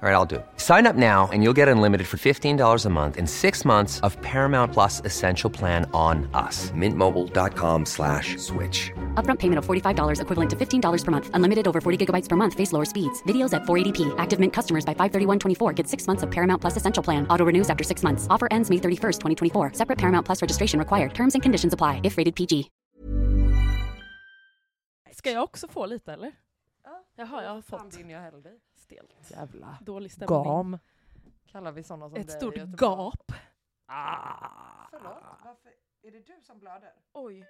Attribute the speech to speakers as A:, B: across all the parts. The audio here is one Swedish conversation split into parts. A: All right, I'll do it. Sign up now and you'll get unlimited for $15 a month and six months of Paramount Plus Essential Plan on us. Mintmobile.com slash switch.
B: Upfront payment of $45 equivalent to $15 per month. Unlimited over 40 gigabytes per month. Face lower speeds. Videos at 480p. Active Mint customers by 531.24 get six months of Paramount Plus Essential Plan. Auto renews after six months. Offer ends May 31st, 2024. Separate Paramount Plus registration required. Terms and conditions apply if rated PG.
C: Ska jag också få lite eller? Ja. Jaha, jag har fått. Din jag hällde. Stelt.
D: Jävla
C: Dålig stämning.
D: gam.
E: Kallar vi sådana som
C: Ett
E: dig i
C: stort
E: Göteborg?
C: gap.
E: Förlåt, varför? Är det du som blöder?
C: Oj.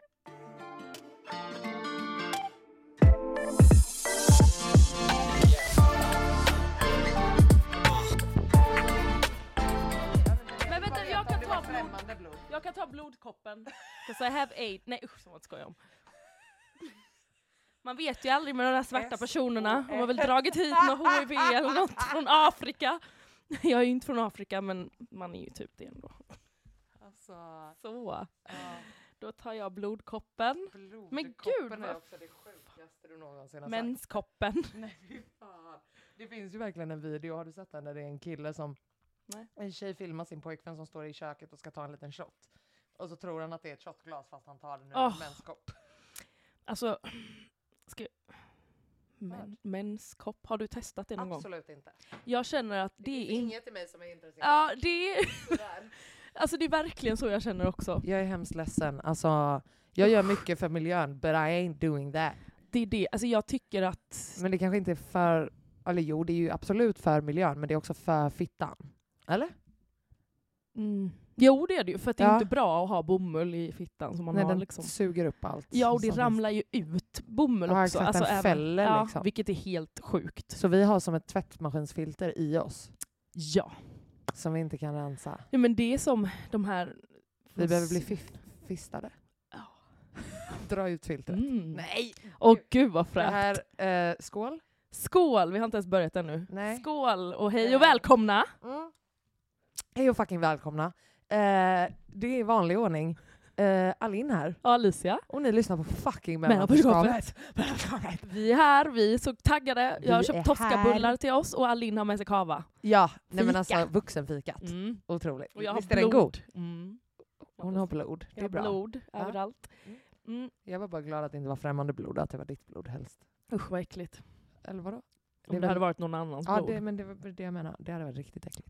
C: Men vänta, jag kan
E: Det
C: ta
E: var
C: blod.
E: främmande blod.
C: Jag kan ta blodkoppen. 'Cause I have aid. Nej usch, sånt ska jag om. Man vet ju aldrig med de där svarta personerna. De har väl dragit hit något HIV eller något från Afrika. Jag är ju inte från Afrika men man är ju typ det ändå.
E: Alltså,
C: Så,
E: ja,
C: då tar jag blodkoppen.
E: blodkoppen
C: gud,
E: är
C: vad-
E: också det sjukaste du någonsin har sagt.
C: Menskoppen.
E: Nej, fy fan. Det finns ju verkligen en video, har du sett den, där det är en kille som...
C: Nej.
E: En tjej filmar sin pojkvän som står i köket och ska ta en liten shot. Och så tror han att det är ett shotglas fast han tar den ur
C: Åh.
E: en menskopp.
C: Alltså, ska men, menskopp, har du testat det någon
E: Absolut inte.
C: gång? Jag känner att det är inte...
E: Inget i mig som är intresserad.
C: Ja, det är... alltså det är verkligen så jag känner också.
E: Jag är hemskt ledsen. Alltså, jag gör mycket för miljön, but I ain't doing that.
C: Det är det, alltså jag tycker att...
E: Men det kanske inte är för... Eller jo, det är ju absolut för miljön, men det är också för fittan. Eller?
C: Mm. Jo det är det ju, för att det är
E: Ja.
C: inte bra att ha bomull i fittan som man
E: Nej,
C: har
E: den
C: liksom.
E: suger upp allt.
C: Ja och det
E: som finns.
C: ramlar ju ut bomull
E: Ja,
C: också. Alltså,
E: exakt, den fäller
C: ja,
E: liksom.
C: Vilket är helt sjukt.
E: Så vi har som ett tvättmaskinsfilter i oss
C: Ja.
E: som vi inte kan rensa.
C: ja. men det är som de här...
E: Vi behöver bli fif- fistade.
C: Ja.
E: Dra ut filtret.
C: Mm.
E: Nej!
C: Åh gud vad
E: Det
C: fräscht.
E: här, eh, skål.
C: Skål! Vi har inte ens börjat ännu.
E: Nej. Eh.
C: Skål och hej och
E: Nej.
C: välkomna!
E: Mm. Hej och fucking välkomna. Eh, det är i vanlig ordning. Eh, Alin här.
C: Ja, Alicia.
E: Och ni lyssnar på fucking
C: Mellanperskapet.
E: Mellanperskapet. Mellanperskapet.
C: Vi är här, vi är så taggade. Jag har
E: Vi
C: köpt
E: är
C: Toscabullar
E: här.
C: till oss och Alin har med sig kava.
E: Ja, nej men
C: Fika.
E: alltså vuxenfikat.
C: Mm.
E: Otroligt.
C: Och jag har
E: Visst är
C: blod.
E: den god?
C: Mm.
E: Hon har blod. Det
C: Jag
E: är
C: har
E: bra.
C: blod
E: Ja.
C: överallt.
E: Mm.
C: Mm.
E: Jag var bara glad att det inte var främmande blod och att det var ditt blod helst.
C: Usch vad äckligt.
E: Eller vadå?
C: Om det,
E: är väl-
C: hade varit någon annans
E: Ja,
C: blod.
E: det, men det var det jag menar. Det hade varit riktigt äckligt.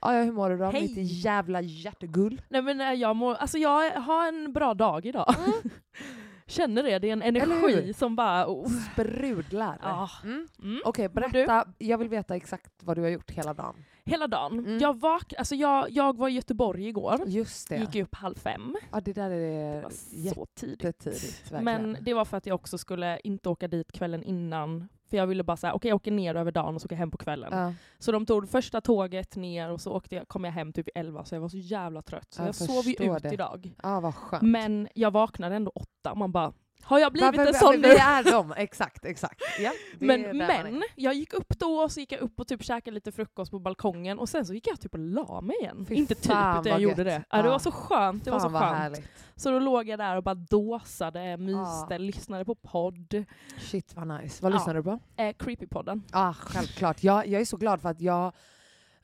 E: Ja, ja, hur mår du då?
C: Hej!
E: Mitt jävla hjärtegull.
C: Nej men eh, jag, mår, alltså jag har en bra dag idag. Känner det, det är en
E: Eller
C: energi
E: hur?
C: som bara... Oh.
E: Sprudlar.
C: Ja.
E: Mm.
C: Mm.
E: Okej, berätta. Jag vill veta exakt vad du har gjort hela dagen.
C: Hela dagen.
E: Mm.
C: Jag, vak- alltså jag, jag var i Göteborg igår.
E: Just det.
C: Gick upp halv fem.
E: Ja, det där
C: Det
E: är
C: var så tidigt.
E: Eh, jättetidigt. Verkligen.
C: Men det var för att jag också skulle inte åka dit kvällen innan. För jag ville bara säga, okej jag åker ner över dagen och så åker jag hem på kvällen.
E: Ja,
C: Så de tog första tåget ner och så åkte jag, kom jag hem typ vid 11 så jag var så jävla trött. Så
E: Jag
C: jag, sov ju
E: förstår
C: ut
E: det.
C: idag.
E: ja ah, vad skönt.
C: Men jag vaknade ändå åtta och man bara, Har jag blivit
E: Varför-
C: en sån
E: Vi
C: nu?
E: är dem, exakt. exakt. Ja, det är
C: Men,
E: där man är.
C: men jag gick upp då och så gick jag upp och typ käkade lite frukost på balkongen och sen så gick jag typ och la mig igen.
E: Fy
C: Inte typ,
E: fan,
C: utan jag
E: vad
C: gjorde
E: gött.
C: det. Ja, det
E: Ja.
C: var så skönt. Det var
E: Fan
C: så
E: vad
C: skönt.
E: härligt.
C: Så då låg jag där och bara dåsade, eh, myste,
E: Ja.
C: lyssnade på podd.
E: Shit vad nice. Vad
C: Ja.
E: lyssnar du på?
C: Eh, Creepypodden.
E: Ja, självklart. Jag, jag är så glad för att jag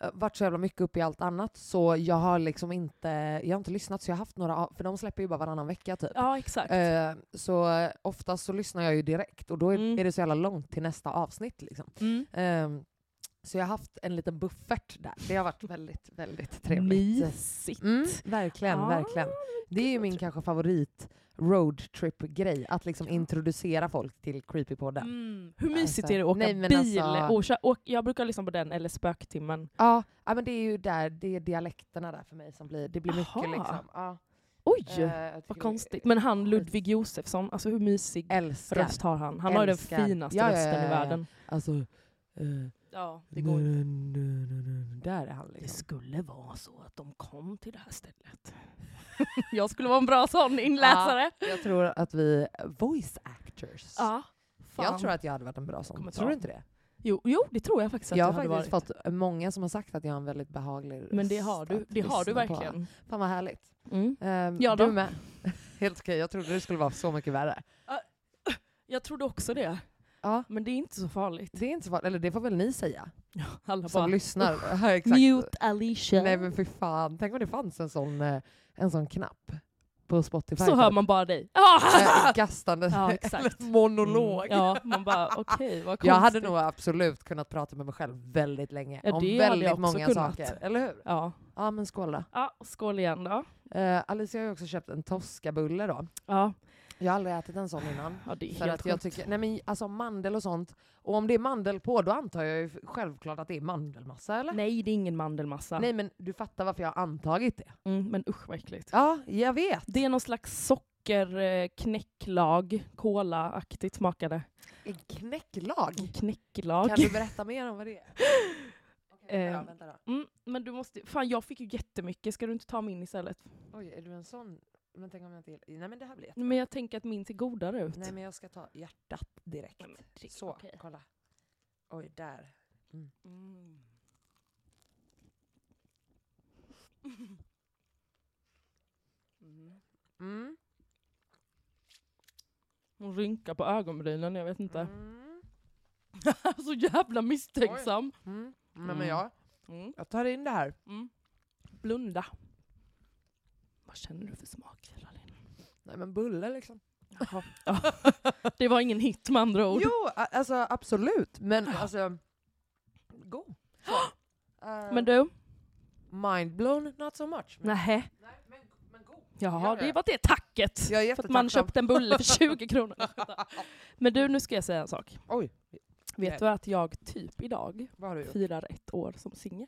E: eh, varit så jävla mycket uppe i allt annat så jag har liksom inte, jag har inte lyssnat så jag har haft några, av- för de släpper ju bara varannan vecka typ.
C: Ja, exakt.
E: Eh, Så eh, oftast så lyssnar jag ju direkt och då är,
C: Mm.
E: är det så jävla långt till nästa avsnitt. Liksom.
C: Mm.
E: Ehm, Så jag har haft en liten buffert där. Det har varit väldigt, väldigt trevligt.
C: Mysigt. Ah.
E: Mm, verkligen,
C: Ja,
E: verkligen. Det är ju min kanske favorit roadtrip-grej, att liksom introducera folk till Creepypodden.
C: Mm. Hur
E: Alltså,
C: mysigt är det att åka
E: nej, men
C: bil?
E: alltså-
C: Och kö- och, jag brukar lyssna på den eller Spöktimmen.
E: Ja, ja, men det är ju där, det är dialekterna där för mig som blir, det blir
C: Aha.
E: mycket liksom. Ja,
C: Oj!
E: eh, jag tycker
C: Vad
E: det-
C: konstigt. Men han Ludvig Josefsson, alltså hur mysig
E: Älskar.
C: röst har han? Han har ju den
E: Älskar.
C: finaste
E: Ja, ja,
C: rösten
E: ja,
C: i
E: ja, ja.
C: världen.
E: Alltså, eh,
C: Ja,
E: nö, nö, nö, nö. Där är han
C: Det
E: liksom.
C: skulle vara så att de kom till det här stället. jag skulle vara en bra sån inläsare.
E: Jag tror att vi voice actors.
C: Ja. Fan.
E: jag tror att jag hade varit en bra sån.
C: Kommer
E: Tror
C: ta.
E: du inte det?
C: jo, jo, det tror jag faktiskt att
E: jag
C: du
E: har
C: hade
E: faktiskt
C: varit.
E: fått många som har sagt att jag har en väldigt behaglig röst.
C: Men det har du,
E: att
C: det har du
E: lyssna på.
C: verkligen.
E: Fan vad härligt.
C: Mm.
E: Ehm,
C: Ja då.
E: du med. Helt okej, jag trodde det skulle vara så mycket värre.
C: Jag trodde också det,
E: Ja,
C: men det är inte så farligt.
E: det är inte så farligt. Eller det får väl ni säga
C: Alla
E: som
C: bara,
E: lyssnar. Ja, exakt.
C: Mute Alicia.
E: Nej men för fan, tänk om det fanns en sån, eh, en sån knapp på Spotify.
C: så hör man bara dig. Ah!
E: Eh, Gastande
C: Ja, exakt.
E: eller monolog.
C: Mm, ja, man bara okej, vad konstigt.
E: Jag hade nog absolut kunnat prata med mig själv väldigt länge.
C: Ja,
E: om
C: det hade jag
E: väldigt
C: också
E: många
C: kunnat.
E: saker. Eller hur?
C: Ja.
E: Ja men skål då.
C: ja, skål igen då.
E: Eh, Alicia har ju också köpt en Toscabulle då.
C: Ja,
E: Jag har aldrig ätit en sån innan.
C: ja det är
E: För
C: helt
E: att
C: sjukt.
E: jag tycker, nej men alltså mandel och sånt, och om det är mandel på då antar jag ju självklart att det är mandelmassa eller?
C: Nej, det är ingen mandelmassa.
E: Nej, men du fattar varför jag har antagit det.
C: Mm, men usch vad äckligt.
E: Ja, jag vet.
C: Det är någon slags sockerknäcklag, kolaaktigt smakade.
E: En knäcklag.
C: Knäcklag.
E: Mm. Kan du berätta mer om vad det är? Okej,
C: Ehm.
E: vänta då.
C: Mm, men du måste, fan jag fick ju jättemycket, ska du inte ta min istället?
E: Oj, är du en sån? Men tänk om jag inte gillar- Nej men det här blir jättebra.
C: Men jag tänker att min ser godare ut.
E: Nej men jag ska ta hjärtat direkt.
C: Nej, men det-
E: Så,
C: okej.
E: kolla. Oj, där.
C: Mm.
E: Mm.
C: Hon rynkar på ögonbrynen, jag vet inte.
E: Mm.
C: Så jävla misstänksam.
E: Mm. Men,
C: Mm.
E: men jag,
C: Mm.
E: jag tar in det här.
C: Mm. Blunda. Vad känner du för smaker Aline?
E: Nej men bulle liksom.
C: Jaha. Ja. Det var ingen hit med andra ord. Ah.
E: Jo, a- alltså absolut. Men alltså, god. Så. Eh,
C: Men du?
E: Mindblown, not so much. Men,
C: Nähä.
E: men god.
C: Jaha,
E: Ja,
C: det
E: ja.
C: var det tacket.
E: Jag är
C: För att man
E: jättetacksam.
C: köpte en bulle för 20 kronor. Men du, nu ska jag säga en sak.
E: Oj,
C: Vet
E: Nej.
C: du att jag typ idag
E: vad har du gjort?
C: firar ett år som singel?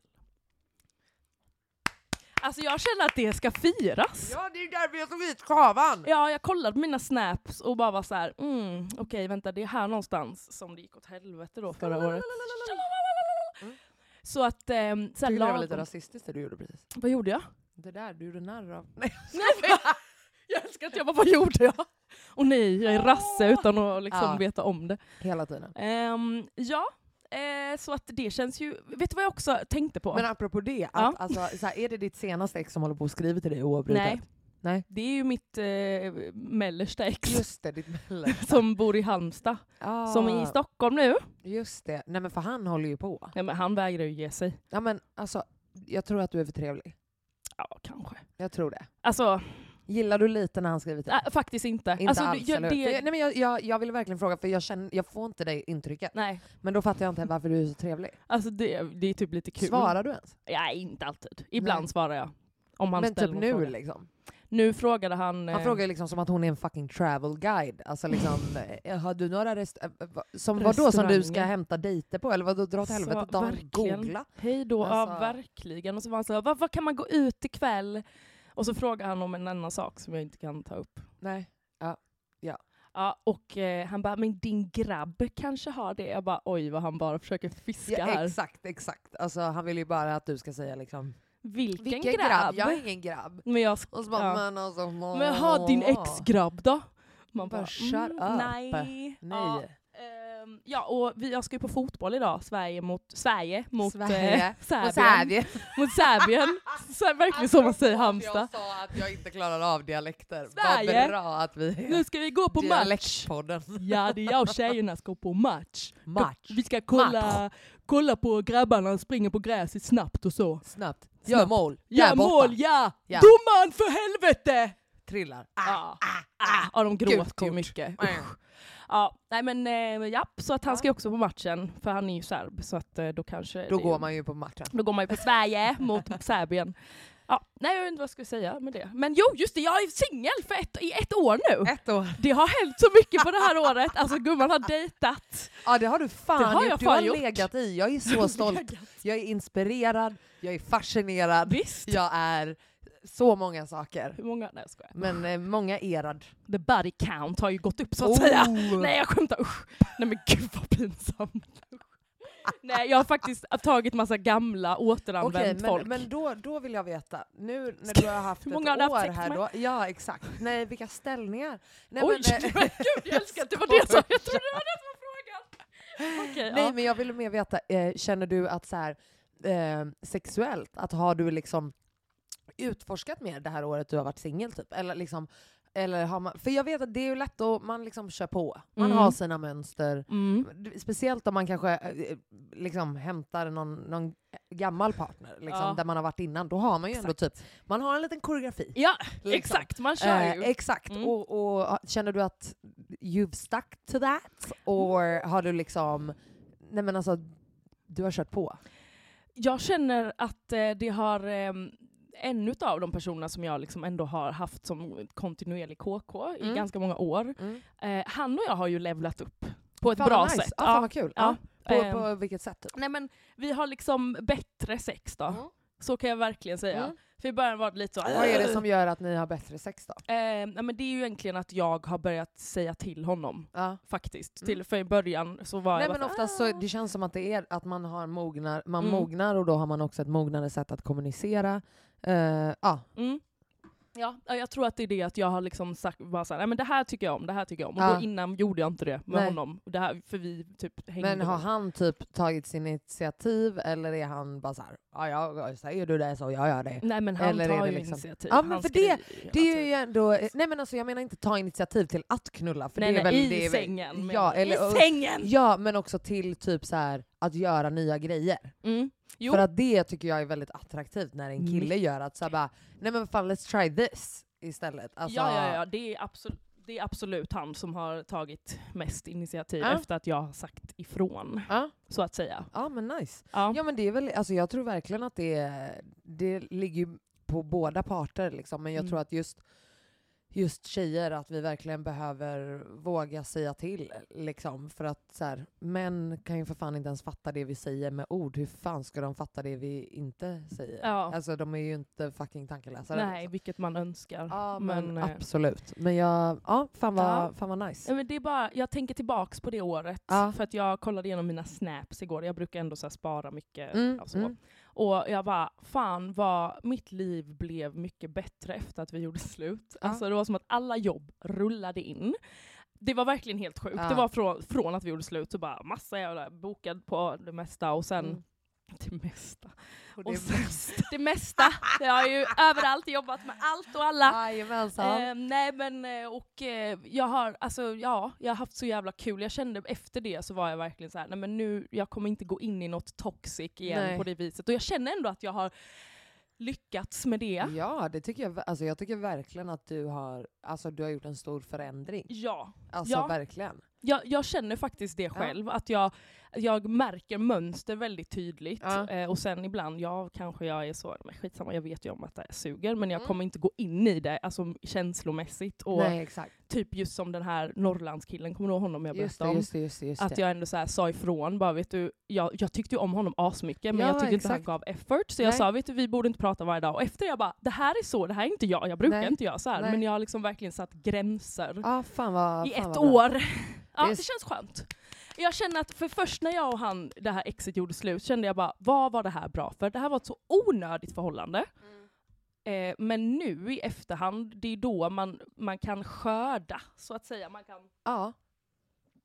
C: Alltså jag känner att det ska firas.
E: Ja, det är därför jag tog hit kavan!
C: Ja, jag kollade på mina snaps och bara var så här, mm, okej vänta, det är här någonstans som det gick åt helvete då förra året.
E: Mm.
C: Så att, ehm, så här,
E: Tyckte det var lite
C: lagom-
E: rasistiskt det du gjorde precis.
C: Vad gjorde jag?
E: Det där du gjorde narr av. Nej.
C: Jag älskar att jag bara, vad gjorde jag? Och nej, jag är rasse
E: Ah.
C: utan att liksom
E: Ja.
C: veta om det.
E: Hela tiden.
C: Ehm, ja, eh, så att det känns ju... Vet du vad jag också tänkte på?
E: Men apropå det, att,
C: Ja.
E: alltså, så här, är det ditt senaste ex som håller på och skriver till dig oavbrutet?
C: Nej.
E: Nej.
C: Det är ju mitt eh, mellersta ex
E: Just det, ditt mellan.
C: som bor i Halmstad,
E: Ah,
C: som är i Stockholm nu.
E: Just det. Nej men för han håller ju på.
C: Ja, men han vägrar ju ge sig.
E: Ja men alltså, jag tror att du är för trevlig.
C: Ja, kanske.
E: Jag tror det.
C: Alltså,
E: Gillar du lite när han skriver till dig?
C: äh, faktiskt inte.
E: Inte
C: alltså,
E: alls,
C: jag-
E: eller hur?
C: det-
E: För jag, nej, men jag, jag, jag vill verkligen fråga, för jag, känner, jag får inte det intrycket.
C: nej,
E: Men då fattar jag inte varför du är så trevlig.
C: alltså det, det är typ lite kul.
E: Svarar du ens?
C: Ja, inte alltid. Ibland
E: Nej.
C: svarar jag. Om han
E: men
C: ställer
E: typ
C: någon
E: nu
C: fråga.
E: liksom.
C: Nu frågade han...
E: Han
C: eh,
E: frågar ju liksom som att hon är en fucking travel guide. Alltså liksom, eh, har du några rest... eh, eh, va- Som vadå som du ska
C: Restauranger.
E: hämta dejter på? Eller vadå dra åt
C: Så,
E: helvete? Ta och
C: verkligen.
E: googla.
C: Hej då, ja
E: Alltså-
C: verkligen. Och så var han så här, "Vad- vad kan man gå ut ikväll? Och så frågar han om en annan sak som jag inte kan ta upp.
E: Nej.
C: Ja, och eh, han bara, men din grabb kanske har det? Jag bara, oj vad han bara försöker fiska
E: Ja,
C: här.
E: exakt, exakt. Alltså han vill ju bara att du ska säga liksom...
C: Vilken,
E: Vilken grabb?
C: grabb?
E: Jag är ingen grabb.
C: Men jag sk-
E: Och så bara,
C: ja.
E: men alltså...
C: men ha din ex-grabb då? Man
E: Bara
C: bara, "Mm,
E: shut up.
C: Nej. Ja,
E: Nej.
C: ehm, ja, och vi, jag ska ju på fotboll idag, Sverige mot Sverige mot
E: Sverige.
C: Eh, Serbien. Mot Serbien. Så, här, verkligen som man säger Halmstad.
E: Alltså, Jag sa att jag inte klarar av dialekter.
C: Sverige.
E: Vad bra att vi
C: Nu ska vi gå på match.
E: Dialektpodden.
C: Ja, det är jag och tjejerna ska på match.
E: Match.
C: Vi ska kolla, kolla på grabbarna springer på gräset snabbt och så.
E: Snabbt. Gör mål.
C: Ja,
E: Där borta.
C: mål, ja!
E: Ja.
C: Domaren för helvete!
E: Trillar. Äh.
C: Ja, Ah, ja de
E: ah. Gult
C: gråter ju
E: kort.
C: mycket. Ah, Usch. Ja, nej men eh, ja, så att han ska ju också på matchen, för han är ju serb, så att eh, då kanske...
E: Då
C: det-
E: går man ju på matchen.
C: Då går man ju på Sverige mot Serbien. Ja, nej jag vet inte vad jag skulle säga med det. Men jo, just det, jag är singel för ett, i ett år nu!
E: Ett år.
C: Det har hänt så mycket på det här året, alltså gumman har dejtat.
E: Ja det har du fan
C: Det har jag
E: gjort. Du
C: fan
E: har
C: gjort.
E: legat i. Jag är så stolt. Jag är inspirerad. Jag är fascinerad.
C: Visst!
E: Jag är så många saker.
C: Hur många? Nej jag skojar.
E: Men eh, många erad.
C: The body count har ju gått upp så att
E: Oh.
C: säga. Nej jag skämtar, usch. Nej men gud vad pinsamt. Usch. Nej jag har faktiskt tagit massa gamla återanvänt
E: Okej,
C: folk.
E: men, men då, då vill jag veta, nu när du har haft
C: Hur
E: ett
C: många har
E: år
C: du haft sex
E: här
C: med?
E: då. Ja exakt. Nej vilka ställningar. Nej,
C: Oj,
E: men, eh,
C: men, gud jag älskar att det var det som, jag trodde det var det som var frågan. Okej,
E: Nej
C: ja.
E: men jag ville mer veta, eh, känner du att så här, eh, sexuellt, att har du liksom utforskat mer det här året du har varit singel typ? Eller liksom, eller har man, för jag vet att det är ju lätt att man liksom kör på, man
C: Mm.
E: har sina mönster.
C: Mm.
E: Speciellt om man kanske eh, liksom hämtar någon, någon gammal partner, liksom,
C: Ja.
E: där man har varit innan. Då har man ju ändå typ, man har en liten koreografi.
C: Ja,
E: Liksom.
C: exakt man kör
E: Eh,
C: ju.
E: exakt,
C: Mm.
E: och, och ah, känner du att you've stuck to that?
C: Mm.
E: Or har du liksom, nej men alltså, du har kört på?
C: Jag känner att eh, det har ehm, en utav de personerna som jag liksom ändå har haft som kontinuerlig KK i
E: Mm.
C: ganska många år,
E: Mm.
C: eh, han och jag har ju levlat upp på ett
E: Fan
C: bra
E: vad nice.
C: sätt.
E: Ja,
C: Ja.
E: fan vad kul. Ja.
C: Ehm,
E: På, på vilket sätt? Typ?
C: Nej men vi har liksom bättre sex då.
E: Mm.
C: Så kan jag verkligen säga.
E: Mm.
C: För i början var det lite så...
E: Vad är det som gör att ni har bättre sex då?
C: Eh, nej, men det är ju egentligen att jag har börjat säga till honom.
E: Ja.
C: Faktiskt.
E: Mm.
C: Till, för i början så var
E: Nej
C: jag
E: men
C: bara
E: oftast så,
C: "Ah."
E: det känns som att det är att man har mognar, man
C: Mm.
E: mognar och då har man också ett mognare sätt att kommunicera. Eh, ja.
C: Mm. Ja, ja, jag tror att det är det att jag har liksom sagt bara såhär, nej men det här tycker jag om, det här tycker jag om. Och
E: Ja.
C: då innan gjorde jag inte det med
E: Nej.
C: honom. Och Det här, för vi typ hängde.
E: Men har
C: väl.
E: han typ tagit sin initiativ eller är han bara såhär, ja, ja, säger du det så jag gör det.
C: Nej men han
E: Eller är
C: tar
E: det
C: ju
E: liksom-
C: initiativ.
E: Ja, men
C: Han
E: för det-
C: skriver
E: Det är
C: alltid.
E: ju ändå, nej men alltså jag menar inte ta initiativ till att knulla. För
C: nej,
E: det är
C: nej,
E: väl,
C: i
E: det är väl,
C: sängen.
E: Ja,
C: men,
E: eller,
C: I sängen!
E: ja men också till typ så här att göra nya grejer.
C: Mm. Jo.
E: För att det tycker jag är väldigt attraktivt när en kille gör att så här bara, nej men vad fan let's try this istället. Alltså,
C: ja, ja, ja. Det är, absolut, det är absolut han som har tagit mest initiativ
E: Ja.
C: efter att jag har sagt ifrån,
E: ja.
C: så att säga.
E: Ja men nice.
C: Ja.
E: Ja men det är väl, alltså jag tror verkligen att det, är- det ligger ju på båda parter liksom. Men jag
C: Mm.
E: tror att just, just tjejer, att vi verkligen behöver våga säga till liksom. För att så här, män kan ju för fan inte ens fatta det vi säger med ord. Hur fan ska de fatta det vi inte säger?
C: Ja.
E: Alltså de är ju inte fucking tankeläsare.
C: Nej,
E: liksom.
C: vilket man önskar.
E: Ja men,
C: eh,
E: absolut. Men jag, ja fan vad,
C: Ja.
E: Fan vad nice.
C: Ja, men det är bara, jag tänker tillbaks på det året,
E: Ja.
C: för att jag kollade igenom mina snaps igår, jag brukar ändå så här spara mycket.
E: Mm,
C: och så.
E: mm.
C: Och jag bara, fan vad mitt liv blev mycket bättre efter att vi gjorde slut.
E: Ja.
C: Alltså det var som att alla jobb rullade in. Det var verkligen helt sjukt.
E: Ja.
C: Det var från, från att vi gjorde slut, så bara massa jävla bokad på det mesta och sen
E: Mm.
C: det mesta.
E: Och
C: och
E: det
C: sen- Det mesta! Jag har ju överallt jobbat med allt och alla.
E: Jajamensan.
C: Eh, nej men eh, och eh, jag har alltså ja, jag har haft så jävla kul. Jag kände efter det så var jag verkligen så här, nej men nu, jag kommer inte gå in i något toxic igen
E: Nej.
C: på det viset. Och jag känner ändå att jag har lyckats med det.
E: Ja, det tycker jag, ver- alltså jag tycker verkligen att du har, alltså du har gjort en stor förändring.
C: Ja,
E: Alltså
C: Ja.
E: verkligen.
C: jag, jag känner faktiskt det själv. Att jag, jag märker mönster väldigt tydligt.
E: Ja.
C: Eh, och sen ibland, ja kanske jag är så, men skitsamma jag vet ju om att det här suger men jag kommer inte gå in i det alltså, känslomässigt. Och
E: Mm. Nej exakt.
C: typ just som den här Norrlandskillen, kommer du ihåg honom jag
E: Just
C: berättade
E: det,
C: om?
E: just det, just det. Just
C: att
E: det.
C: jag ändå så här sa ifrån bara, vet du, jag, jag tyckte ju om honom asmycket men
E: Ja,
C: jag tyckte inte han
E: exakt.
C: gav effort så jag
E: Nej.
C: sa vet du, vi borde inte prata varje dag och efter jag bara, det här är så, det här är inte jag, jag brukar
E: Nej.
C: inte göra så här
E: Nej.
C: men jag har liksom verkligen satt gränser
E: Ja, fan vad,
C: i
E: fan
C: ett
E: vad bra.
C: år. Ja
E: Det är
C: det
E: s-
C: känns skönt. Jag känner att för först när jag och han, det här
E: Mm.
C: exet gjorde slut, kände jag bara vad var det här bra för? Det här var ett så onödigt förhållande. Eh, men nu i efterhand, det är då man, man kan skörda så att säga. Man kan
E: Ja.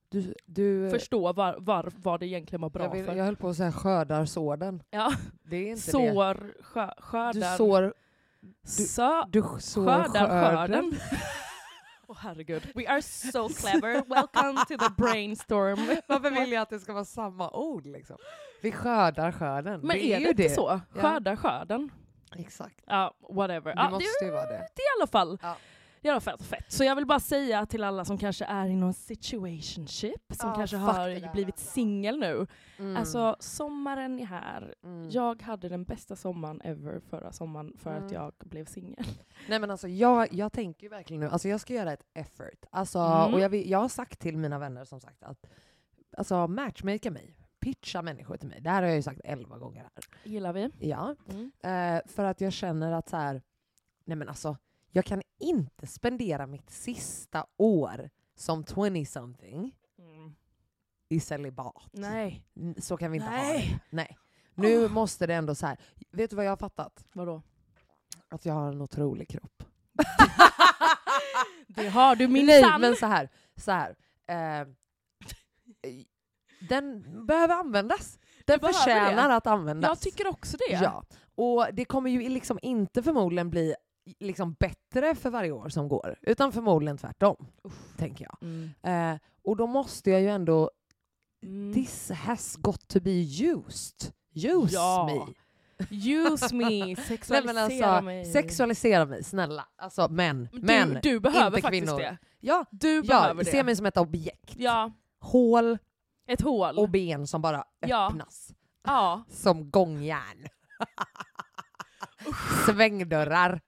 E: Du, du,
C: förstå var, var, vad det egentligen var bra
E: jag, vill,
C: för.
E: jag höll på att säga skördar såden.
C: Ja.
E: Det är inte det.
C: Sår, skö,
E: Du
C: skördar,
E: sår,
C: sö,
E: du sår
C: skördar
E: skörden.
C: skörden. Åh herregud. We are so clever. Welcome to the brainstorm.
E: Varför vill jag att det ska vara samma ord liksom? Vi skördar skörden.
C: Men
E: det
C: är,
E: är,
C: det
E: ju
C: inte
E: det.
C: så?
E: Ja.
C: Skörda skörden.
E: Exakt.
C: Ja, whatever.
E: Det
C: Ja,
E: måste ju vara det.
C: det är i alla fall.
E: Ja.
C: Det är i alla fall fett. Så jag vill bara säga till alla som kanske är i någon situationship, som
E: Ja,
C: kanske
E: fuck det
C: har
E: där,
C: blivit
E: alltså.
C: singel nu.
E: Mm.
C: Alltså sommaren är här.
E: Mm.
C: Jag hade den bästa sommaren ever förra sommaren för att
E: Mm.
C: jag blev singel.
E: Nej men alltså jag, jag tänker ju verkligen nu, alltså jag ska göra ett effort. Alltså,
C: Mm.
E: och jag, vill, jag har sagt till mina vänner som sagt att alltså, matchmaka mig. Pitcha människor till mig. Det här har jag ju sagt elva gånger här.
C: Gillar vi.
E: Ja. Eh, för att jag känner att så här, nej men alltså, jag kan inte spendera mitt sista år som 20-something
C: Mm.
E: i celibat.
C: Nej.
E: N- Så kan vi inte ha det.
C: Nej. Oh.
E: Nej. Nu måste det ändå så här. vet du vad jag har fattat?
C: Vadå?
E: Att jag har en otrolig kropp.
C: Det har du
E: Nej,
C: minsann.
E: men så här. Så här eh, den behöver användas. Den
C: behöver
E: förtjänar
C: det.
E: att användas.
C: Jag tycker också det.
E: Ja. Och det kommer ju liksom inte förmodligen bli liksom bättre för varje år som går, utan förmodligen tvärtom, tänker jag.
C: Mm.
E: Eh, och då måste jag ju ändå,
C: Mm.
E: this has got to be used. Use
C: Ja.
E: me.
C: Use me,
E: Nej,
C: sexualisera
E: men alltså,
C: mig.
E: Sexualisera mig, snälla. Alltså män,
C: Du-
E: män,
C: du behöver
E: inte
C: faktiskt
E: kvinnor.
C: det.
E: Ja,
C: Du
E: ja
C: behöver det.
E: se mig som ett objekt.
C: Ja,
E: Hål
C: ett hål.
E: och ben som bara
C: Ja.
E: öppnas.
C: ja.
E: Som gångjärn. Svängdörrar.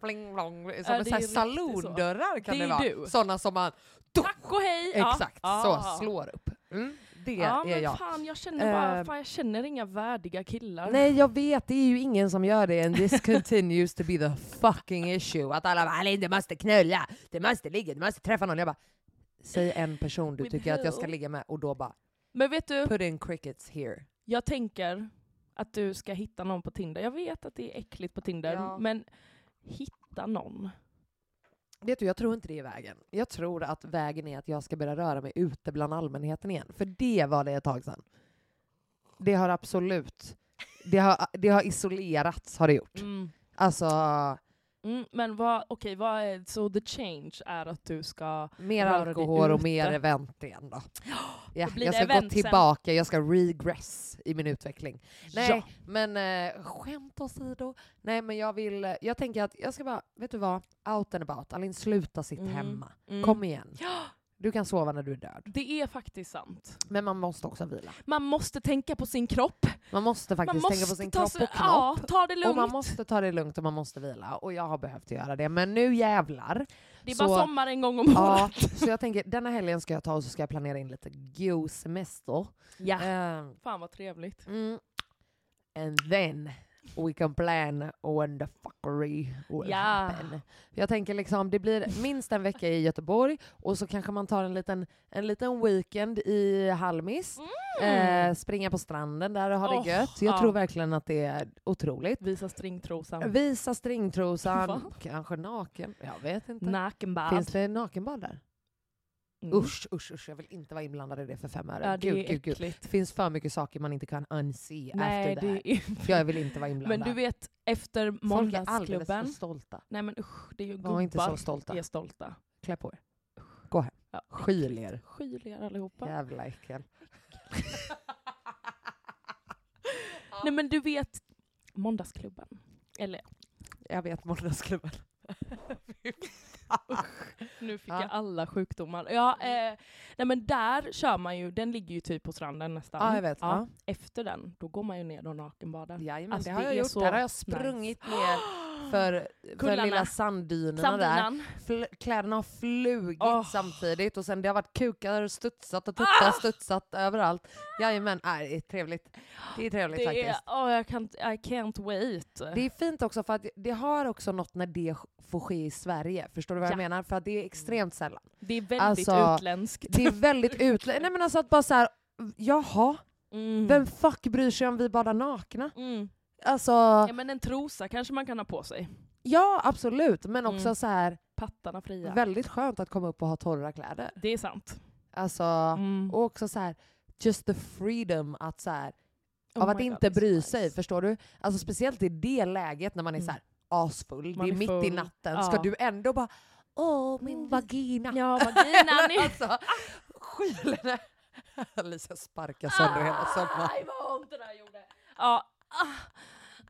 E: Pling, plong. Som
C: det är
E: så här
C: riktigt
E: saloondörrar
C: Det
E: kan det,
C: är
E: vara.
C: du.
E: Sådana som man...
C: Tack och hej! Ja.
E: Exakt,
C: ja.
E: så slår upp. Mm, det
C: ja,
E: är
C: men
E: jag.
C: Fan, jag känner bara,
E: Eh.
C: fan, jag känner inga värdiga killar.
E: Nej jag vet, det är ju ingen som gör det and this continues to be the fucking issue. Att alla bara “du måste knulla, du måste ligga, du måste träffa någon”. Jag bara, säg en person du
C: With
E: tycker att jag ska
C: who?
E: ligga med och då bara
C: Men vet du,
E: put in crickets here.
C: jag tänker att du ska hitta någon på Tinder. Jag vet att det är äckligt på Tinder,
E: Ja.
C: men hitta någon.
E: Vet du, jag tror inte det är vägen. Jag tror att vägen är att jag ska börja röra mig ute bland allmänheten igen. För det var det ett tag sedan. Det har absolut... Det har, det har isolerats, har det gjort.
C: Mm.
E: Alltså,
C: Mm, men vad, okej, vad är, så the change är att du ska...
E: mer
C: Rör dig
E: alkohol och mer
C: ute.
E: event igen då. Ja,
C: blir
E: jag
C: det
E: ska gå
C: event sen.
E: tillbaka, jag ska regress i min utveckling. Nej,
C: Ja.
E: men eh, skämt åsido. Nej, men jag vill... Jag tänker att jag ska bara, vet du vad? Out and about. Alin, sluta sitt
C: Mm.
E: hemma.
C: Mm.
E: Kom igen. Du kan sova när du är död.
C: Det är faktiskt sant.
E: Men man måste också vila.
C: Man måste tänka på sin kropp.
E: Man måste faktiskt
C: man måste
E: tänka på sin
C: ta
E: kropp
C: sig-
E: och knopp.
C: Ja, ta det
E: och
C: lugnt.
E: man måste ta det lugnt och man måste vila. Och jag har behövt göra det. Men nu jävlar.
C: det är
E: så-
C: bara sommar en gång om året.
E: Ja, så jag tänker, denna helgen ska jag ta och så ska jag planera in lite go-semester.
C: Ja.
E: Ehm,
C: Fan vad trevligt.
E: mm. And then we can plan when the fuckery will
C: Ja.
E: happen. Jag tänker liksom, det blir minst en vecka i Göteborg och så kanske man tar en liten, en liten weekend i Halmis. Eh, springa på stranden där och ha
C: Mm. Åh,
E: det gött. Jag
C: ja.
E: tror verkligen att det är otroligt.
C: Visa stringtrosan.
E: Visa
C: Va?
E: stringtrosan, kanske naken. Jag vet inte.
C: Nakenbad.
E: Finns det nakenbad där?
C: Mm.
E: Usch, usch, usch. Jag vill inte vara inblandad i det för fem öre.
C: Ja, det
E: gud,
C: är
E: gud, gud.
C: äckligt.
E: Det finns för mycket saker man inte kan unsee
C: Nej,
E: after det här.
C: det är...
E: Jag vill inte vara inblandad.
C: Men du vet, efter
E: Folk är alldeles för
C: måndagsklubben...
E: stolta.
C: Nej men usch, det är ju gubbar.
E: Var inte så stolta.
C: Vi är stolta.
E: Klä på er. Gå hem.
C: Ja.
E: Skyl er.
C: Skyl er allihopa.
E: Jävla äckel.
C: Nej men du vet, måndagsklubben. Eller
E: Jag vet måndagsklubben.
C: nu fick
E: Ah, Ja. Mm.
C: jag alla sjukdomar. Ja, eh, nej men där kör man ju, den ligger ju typ på stranden nästan.
E: Ja, jag vet.
C: Ja,
E: Ja.
C: Efter den, då går man ju ner och nakenbadar.
E: Jajamän,
C: Alltså,
E: det har
C: det
E: jag
C: är
E: gjort.
C: så
E: Där har jag sprungit ner för, för
C: Kullarna.
E: lilla sanddynerna där.
C: Sanddynan.
E: liksom, Fl- kläderna har flugit
C: Åh. Ah!
E: samtidigt och sen det har varit kukar och studsat och tuttar studsat överallt. Jajamän, äh, det är trevligt. Det är trevligt
C: Det är,
E: faktiskt.
C: oh, jag kan, I can't wait.
E: Det är fint också för att det har också något när det får ske i Sverige. Förstår du vad jag
C: Ja. Mm.
E: menar? För att det är extremt sällan.
C: Det är väldigt
E: Alltså,
C: utländskt.
E: Det är väldigt utländskt. Nej men alltså att bara så här, jaha,
C: Mm.
E: vem fuck bryr sig om vi badar nakna?
C: Mm.
E: Alltså,
C: Ja, men en trosa kanske man kan ha på sig.
E: ja absolut, men också
C: Mm.
E: så här
C: Pattarna fria.
E: väldigt skönt att komma upp och ha torra kläder.
C: det är sant.
E: Alltså,
C: Mm.
E: Och också så här just the freedom att så här,
C: Oh
E: av att
C: my God,
E: inte
C: it's
E: bry
C: nice.
E: sig, förstår du? Alltså speciellt i det läget när man är
C: Mm.
E: så här asfull,
C: Man
E: det är,
C: är
E: mitt i
C: full.
E: natten,
C: Ja. Mm.
E: ska du ändå bara Åh, min vagina!
C: Ja, vaginan är...
E: alltså, skylen Alicia sparkar sönder
C: Ah.
E: hela sommaren.
C: Aj, vad ont det där gjorde. Ja. Ah.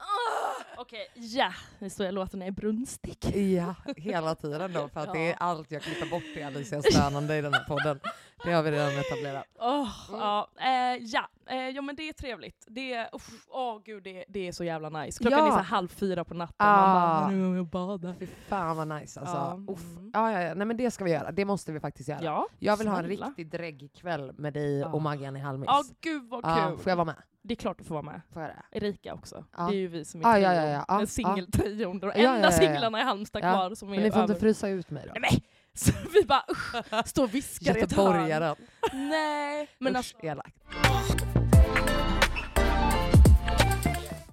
C: Ah. Okej, ja. Nu står jag och låter när jag är brunstig.
E: Ja, hela tiden då, för att det är
C: Ja.
E: allt jag klipper bort i Alicias stönande i den här podden. Det har vi redan etablerat.
C: Åh, ja, eh, ja. Eh, ja, men det är trevligt. Det är, uff, åh gud, det, det är så jävla nice. Klockan
E: Ja.
C: är så här halv fyra på natten.
E: Ah.
C: Man bara, nu vill jag bada.
E: Fy fan vad nice alltså.
C: Ja.
E: Uff.
C: Mm.
E: Ja, ja, ja. Nej men det ska vi göra, det måste vi faktiskt göra.
C: Ja,
E: Jag vill ha en
C: snälla.
E: riktig dräggkväll med dig
C: Ja.
E: och Maggan i Halmhus.
C: Ja, gud vad kul.
E: Ja, Ah, får jag vara med?
C: Det är klart du får vara med.
E: Får jag det?
C: Erika också.
E: Ja.
C: Det är ju vi som är
E: Ja,
C: trion.
E: ja, ja, ja. Ja,
C: Den singeltrion. De
E: Ja, ja,
C: enda
E: ja, ja.
C: singlarna i Halmstad
E: Ja.
C: kvar som är
E: Men ni får inte
C: över.
E: frysa ut mig då.
C: Nej, men. Så vi bara usch, står och viskar i ett hörn.
E: Göteborgaren.
C: Nej. Men
E: Usch,
C: alltså,
E: elakt.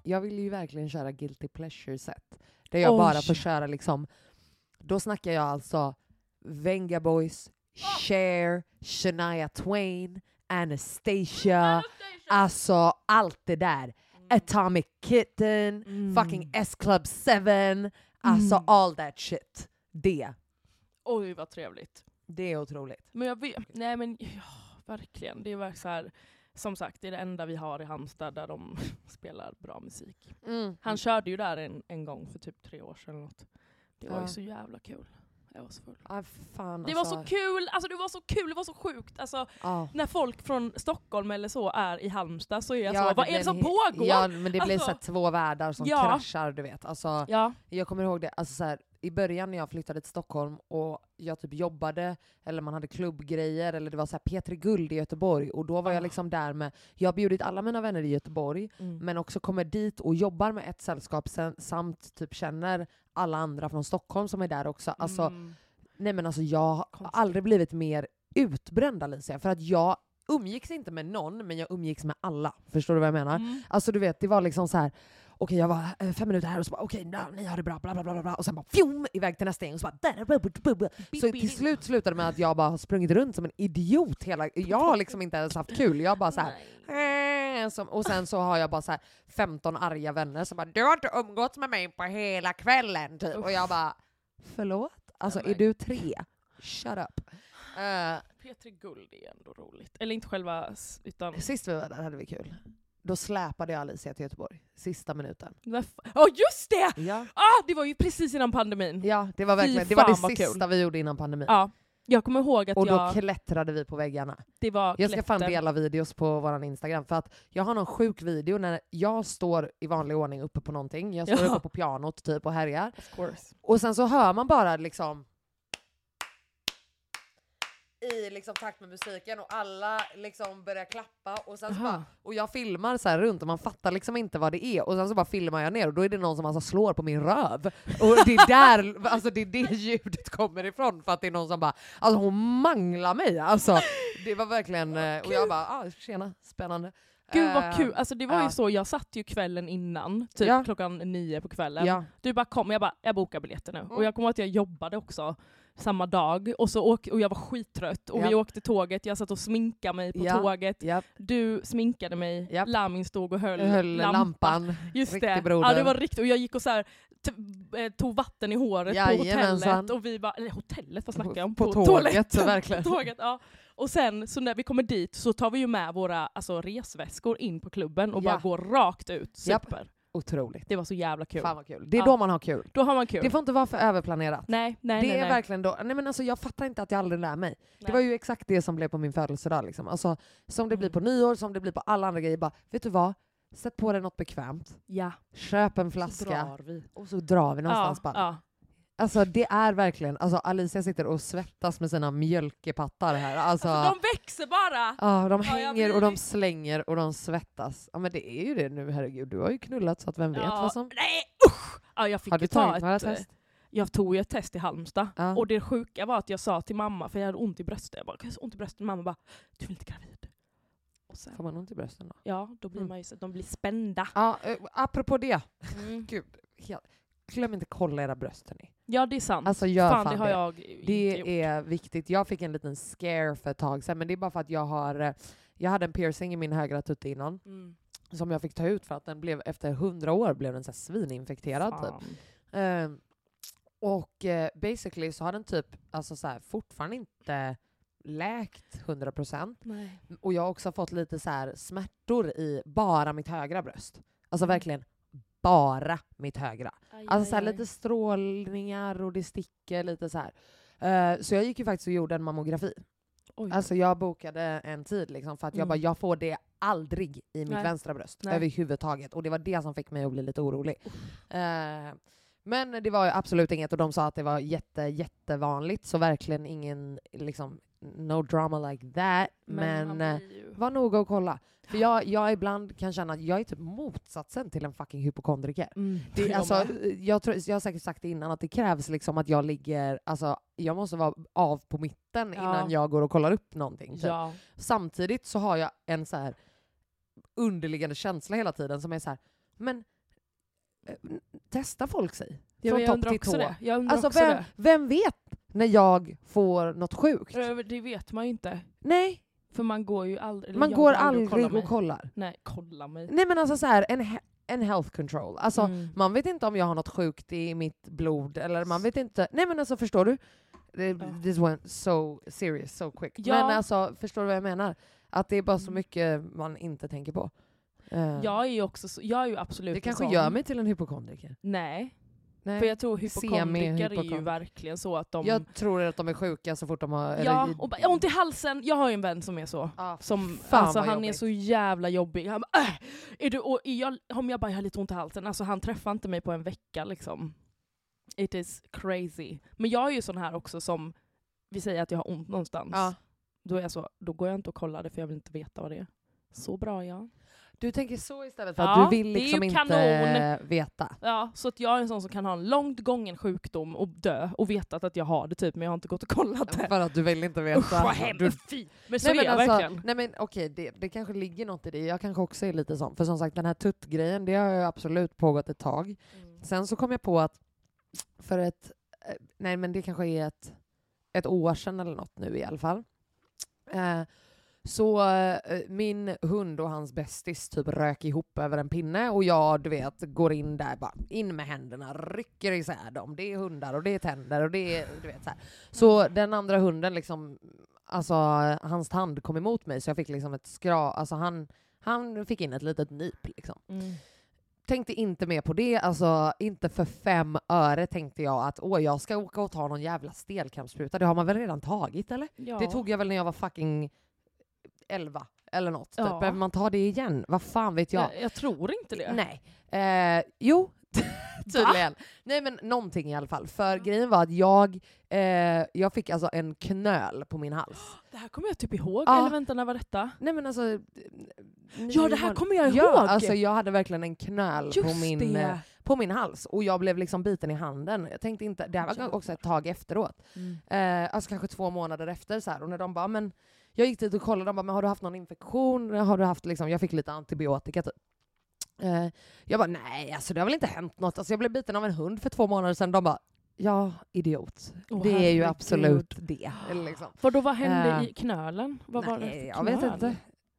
E: Jag vill ju verkligen köra guilty pleasure-set. Där jag
C: Oj.
E: bara får köra liksom... Då snackar jag alltså Venga Boys, Cher, Shania Twain, Anastasia. Alltså allt det där.
C: Mm.
E: Atomic Kitten, fucking S-Club 7. Alltså
C: Mm.
E: all that shit. Det.
C: oj vad trevligt.
E: Det är otroligt.
C: Men jag vet, nej men ja, verkligen. Det är verkligen så här, som sagt, det är det enda vi har i Halmstad där de spelar bra musik. Han
E: Mm.
C: körde ju där en, en gång för typ tre år sedan eller något. Det var
E: Ja.
C: ju så jävla kul. Jag var så full.
E: Ah, fan,
C: Det var
E: alltså.
C: så kul, alltså det var så kul, det var så sjukt. Alltså,
E: Ja.
C: när folk från Stockholm eller så är i Halmstad så är jag
E: Ja,
C: så, vad är
E: blir
C: det som
E: en he-
C: pågår?
E: Ja, men det blir
C: Alltså-
E: så här två världar som
C: Ja.
E: kraschar, du vet. Alltså,
C: Ja.
E: jag kommer ihåg det, alltså, så här, i början när jag flyttade till Stockholm och jag typ jobbade, eller man hade klubbgrejer, eller det var så här Petri Guld i Göteborg, och då var jag
C: Ah.
E: liksom där med, jag har bjudit alla mina vänner i Göteborg,
C: Mm.
E: men också kommer dit och jobbar med ett sällskap sen, samt typ känner alla andra från Stockholm som är där också. Alltså,
C: Mm.
E: Nej men alltså jag har
C: Konstigt.
E: aldrig blivit mer utbränd Alicia, för att jag umgicks inte med någon, men jag umgicks med alla. Förstår du vad jag menar?
C: Mm.
E: Alltså du vet, det var liksom så här. okej jag var eh, fem minuter här och så bara okej, na, ni har det bra, bla bla bla bla, bla och sen bara fjum, iväg till nästa gäng och så bara där, bla, bla, bla, bla. Så till slut slutade det med att jag bara har sprungit runt som en idiot hela, jag har liksom inte ens haft kul, jag bara så här. "Eh", Som, och sen så har jag bara så här 15 arga vänner som bara du har inte umgåtts med mig på hela kvällen typ. och jag bara förlåt? Alltså
C: Nej,
E: är
C: men-
E: du tre? Shut up. Eh,
C: P3 Guld är ändå roligt. Eller inte själva, s- utan...
E: sist vi var där hade vi kul. Då släpade jag Alicia till Göteborg, sista minuten.
C: Ja oh, just det!
E: Ja.
C: Ah, det var ju precis innan pandemin. Ja,
E: Ja, det var verkligen det,
C: fan
E: var det
C: vad
E: sista vi gjorde innan pandemin.
C: jag kommer ihåg att
E: och då
C: jag...
E: klättrade vi på väggarna.
C: Det var
E: Jag ska fan
C: klätten.
E: dela videos på vår Instagram för att jag har någon sjuk video när jag står i vanlig ordning uppe på någonting. Jag står
C: Ja.
E: uppe på pianot typ och härjar.
C: Of course.
E: Och sen så hör man bara liksom i liksom takt med musiken och alla liksom börjar klappa och sen så
C: Aha.
E: bara, och jag filmar så här runt och man fattar liksom inte vad det är och sen så bara filmar jag ner och då är det någon som alltså slår på min röv och det är där alltså det är det ljudet kommer ifrån för att det är någon som bara alltså hon manglar mig alltså det var verkligen eh, och jag bara ah, tjena spännande
C: Gud vad
E: Eh,
C: kul, alltså det var
E: ja.
C: ju så, jag satt ju kvällen innan, typ
E: Ja.
C: klockan nio på kvällen.
E: ja
C: Du bara kom, jag bara, jag bokar biljetter nu.
E: Mm.
C: Och jag kommer ihåg att jag jobbade också samma dag, och, så åk, och jag var skittrött, och
E: Ja.
C: vi åkte tåget, jag satt och sminkade mig på
E: Ja.
C: tåget,
E: ja
C: du sminkade mig,
E: Japp.
C: Lamin stod och höll,
E: jag höll lampan
C: Just
E: Riktig
C: det.
E: broder.
C: Ja, det var riktigt. Och jag gick och så här, t- eh, tog vatten i håret på
E: Jajamensan.
C: hotellet. Och vi bara, eller hotellet, vad snackar jag om?
E: På tåget,
C: toaletten.
E: verkligen.
C: På tåget, ja. Och sen så när vi kommer dit så tar vi ju med våra alltså, resväskor in på klubben och
E: Ja.
C: bara går rakt ut.
E: Japp.
C: Super.
E: otroligt
C: Det var så jävla kul.
E: fan vad kul det är
C: Ja.
E: då man har kul
C: Då har man kul.
E: Det får inte vara för överplanerat.
C: nej, nej,
E: det
C: nej.
E: är
C: nej.
E: verkligen då, nej men alltså jag fattar inte att jag aldrig lär mig. Det
C: Nej. Mm.
E: var ju exakt det som blev på min födelsedag liksom. Alltså, som det blir på nyår, som det blir på alla andra grejer. Bara, vet du vad? Sätt på dig något bekvämt,
C: Ja,
E: köp
C: så
E: en flaska
C: drar vi.
E: och så drar vi någonstans
C: ja,
E: bara.
C: ja.
E: Alltså det är verkligen, alltså Alicia sitter och svettas med sina mjölkepattar här. Alltså,
C: Alltså, de växer bara!
E: ja, de
C: Ja, jag
E: hänger
C: blir
E: och de
C: rikt-
E: slänger och de svettas. Ja men det är ju det nu herregud, du har ju knullat så att vem vet
C: Ja,
E: vad som...
C: Nej usch! Ja, jag fick
E: Har
C: ju
E: du
C: ta
E: tagit
C: ett,
E: några
C: eh,
E: test?
C: Jag tog ju ett test i Halmstad
E: Ja.
C: och det sjuka var att jag sa till mamma, för jag hade ont i bröstet, jag bara "Jag har så ont i bröstet, mamma bara du är inte gravid. Och påse.
E: Får man ont i brösten då?
C: Ja, då blir
E: Mm.
C: man ju så de blir spända.
E: Ja, eh, apropå det.
C: Mm.
E: Gud, helt. Glöm inte kolla era bröst hörni.
C: Ja, det är sant.
E: Alltså gör
C: fan,
E: fan,
C: det har jag inte gjort.
E: Det är viktigt. Jag fick en liten scare för ett tag sedan, men det är bara för att jag har eh, jag hade en piercing i min högra tutte innan
C: Mm.
E: som jag fick ta ut för att den blev efter hundra år blev den så här svininfekterad typ.
C: Fan.
E: Eh, och eh, basically så har den typ alltså så här, fortfarande inte läkt 100%.
C: Nej.
E: Och jag har också fått lite så här smärtor i bara mitt högra bröst. Alltså
C: Mm.
E: verkligen bara mitt högra.
C: Aj,
E: Alltså så här,
C: aj, aj.
E: lite strålningar och det sticker lite så här. Eh, så jag gick ju faktiskt och gjorde en mammografi.
C: Oj.
E: Alltså jag bokade en tid liksom för att jag
C: Mm.
E: bara, jag får det aldrig i mitt
C: Nej.
E: vänstra bröst
C: Nej.
E: överhuvudtaget. Och det var det som fick mig att bli lite orolig. Eh, men det var ju absolut inget och de sa att det var jätte, jättevanligt så verkligen ingen liksom no drama like that. Men,
C: han
E: eh,
C: blir ju...
E: var noga och kolla. För jag, jag ibland kan känna att jag är typ motsatsen till en fucking hypokondriker.
C: Mm,
E: Det,
C: jag
E: alltså,
C: med.
E: jag, tror, jag har säkert sagt det innan, att det krävs liksom att jag ligger, alltså, jag måste vara av på
C: Ja.
E: mitten innan jag går och kollar upp någonting. typ.
C: ja.
E: Samtidigt så har jag en så här underliggande känsla hela tiden som är så här, men eh, testa folk sig.
C: Ja,
E: Från
C: jag
E: topp
C: undrar
E: till
C: också
E: tå.
C: det. Jag undrar
E: Alltså
C: Mm, också
E: vem, vem vet när jag får något sjukt?
C: det. Det vet man ju inte.
E: Nej,
C: För man går ju aldrig... eller
E: man
C: jag
E: går aldrig
C: kollar
E: och
C: mig.
E: kollar.
C: Nej, kolla mig.
E: Nej men alltså så här, en, he- en health control. Alltså,
C: Mm.
E: Man vet inte om jag har något sjukt i mitt blod eller man vet inte. Nej men alltså förstår du? Det- This went so serious so quick.
C: Ja. Mm.
E: Men alltså förstår du vad jag menar? Att det är bara så mycket man inte tänker på. Eh,
C: Jag är ju också så, jag är ju absolut
E: det
C: en
E: kanske
C: sån-
E: gör mig till en hypokondriker.
C: Nej,
E: Nej.
C: för jag tror hypokondriker är ju
E: Semi-hypokondriker.
C: verkgen så att de...
E: Jag tror att de är sjuka så fort de har... eller-
C: ja, och bara, "Jag har ont i halsen. Jag har ju en vän som är så.
E: Ja,
C: Som,
E: fan
C: alltså,
E: vad
C: han är
E: jobbigt.
C: så jävla jobbig. Han bara, äh, är du, och är jag, om jag bara jag har lite ont i halsen, alltså han träffar inte mig på en vecka liksom. It is crazy. Men jag är ju sån här också som, vi säger att jag har ont någonstans.
E: Ja.
C: Då är jag så, då går jag inte och kollar det för jag vill inte veta vad det är. Så bra är jag.
E: Du tänker så istället för
C: Ja,
E: att du vill
C: det är ju
E: liksom inte
C: kanon.
E: veta.
C: Ja, så att jag är en sån som kan ha en långt gången sjukdom och dö och vetat att jag har det typ, men jag har inte gått och kollat det.
E: För att du vill inte veta.
C: Usch vad hemskt! Fy! Men så är jag verkligen.
E: Nej men okej, det, det kanske ligger något i det. Jag kanske också är lite sån. För som sagt, den här tuttgrejen, det har ju absolut pågått ett tag.
C: Mm.
E: Sen så kom jag på att för ett, eh, nej men det kanske är ett, ett år sedan eller något nu i alla fall. Eh, så eh, min hund och hans bästis typ rök ihop över en pinne och jag du vet går in där bara in med händerna, rycker isär dem. Det är hundar och det är tänder och det är du vet så här. Så den andra hunden liksom, alltså hans tand kom emot mig så jag fick liksom ett skra, alltså han, han fick in ett litet nyp liksom
C: Mm.
E: tänkte inte mer på det, alltså inte för fem öre tänkte jag att åh, jag ska åka och ta någon jävla stelkrampsspruta. Det har man väl redan tagit eller?
C: Ja.
E: Det tog jag väl när jag var fucking 11 eller något. Typ.
C: Ja.
E: Behöver man ta det igen? Vad fan vet jag?
C: jag, jag tror inte det.
E: Nej. Eh, jo, tydligen. Nej men någonting i alla fall. För grejen var att jag, eh, jag fick alltså en knöl på min hals.
C: Det här kommer jag typ ihåg.
E: Ja.
C: Eller vänta, när var detta?
E: Nej men alltså...
C: Ja, det här kommer jag ihåg!
E: Ja, alltså jag hade verkligen en knöl på
C: Just
E: min... eh,
C: det!
E: på min hals och jag blev liksom biten i handen. Jag tänkte inte, det här var
C: Jävlar.
E: också ett tag efteråt.
C: Mm.
E: Eh, alltså kanske två månader efter så här. och när de bara men jag gick dit och kollade, de bara men har du haft någon infektion? Har du haft liksom, jag fick lite antibiotika typ. Eh, jag bara nej alltså det har väl inte hänt något. Alltså jag blev biten av en hund för två månader sedan. De bara ja idiot.
C: Åh,
E: det är ju
C: herregud.
E: absolut det. Liksom.
C: Vad då, vad hände
E: Eh.
C: i knölen? Vad var det för
E: nej, jag vet
C: knöl?
E: inte.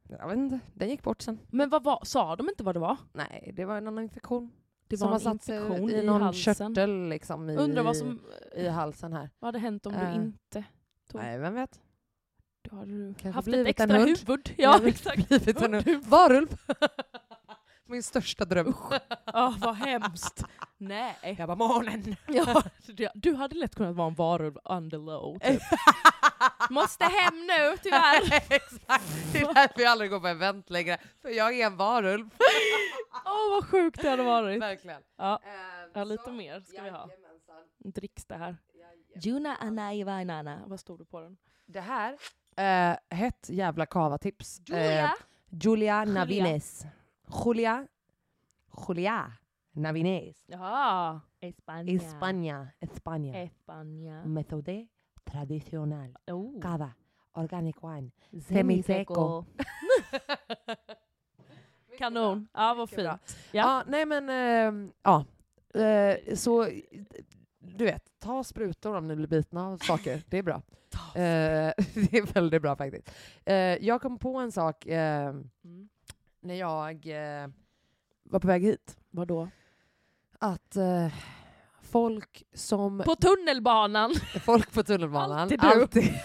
E: Jag vet inte. Den gick bort sen.
C: Men vad var, sa de inte vad det var?
E: Nej, det var en annan infektion.
C: Det
E: som
C: var
E: har
C: en
E: satt sig
C: infektion
E: i
C: i
E: någon
C: halsen.
E: körtel liksom i,
C: Undrar vad som
E: i halsen här.
C: vad hade hänt om
E: Eh.
C: du inte... Tog-
E: Nej, vem vet?
C: Då hade du
E: Kanske
C: haft ett
E: blivit
C: extra
E: en hund.
C: huvud. Ja,
E: Blivit-
C: exakt.
E: blivit en hund. Varulv! Min största dröm.
C: Ja, vad hemskt. Nej.
E: Jag bara månen!
C: Ja, du- du hade lätt kunnat vara en varulv under low.
E: Eh.
C: Typ. Måste hem nu tyvärr.
E: Exakt. Det är därför jag aldrig går på event längre. För jag är en varulv.
C: Åh vad sjukt det hade varit.
E: Verkligen.
C: Ja,
E: Ehm,
C: ja lite
E: så-
C: mer ska vi ha.
E: Jajamensan.
C: Dricks det här.
E: Jajamensan.
C: Juna Anaiva Inanna. Vad stod det på den?
E: Det här, eh, hett jävla kava-tips. Eh, Julia Navines. Julia. Julia Navines.
C: Jaha. Espanja. Eh.
E: España. España.
C: Espanja.
E: Metode tradicional.
C: Oh.
E: Cava. organic wine. Semiseco.
C: Kanon. Ja, vad
E: Mycket bra.
C: fint.
E: Ja.
C: Ja.
E: nej men, ehm, ja. Eh, så, eh, du vet, ta sprutor om ni blir bitna av saker. Det är bra. Eh, det är väldigt bra faktiskt. Eh, jag kom på en sak eh,
C: Mm.
E: när jag eh, var på väg hit.
C: Vadå?
E: Att eh, folk som...
C: På tunnelbanan.
E: Folk på tunnelbanan.
C: Alltid du.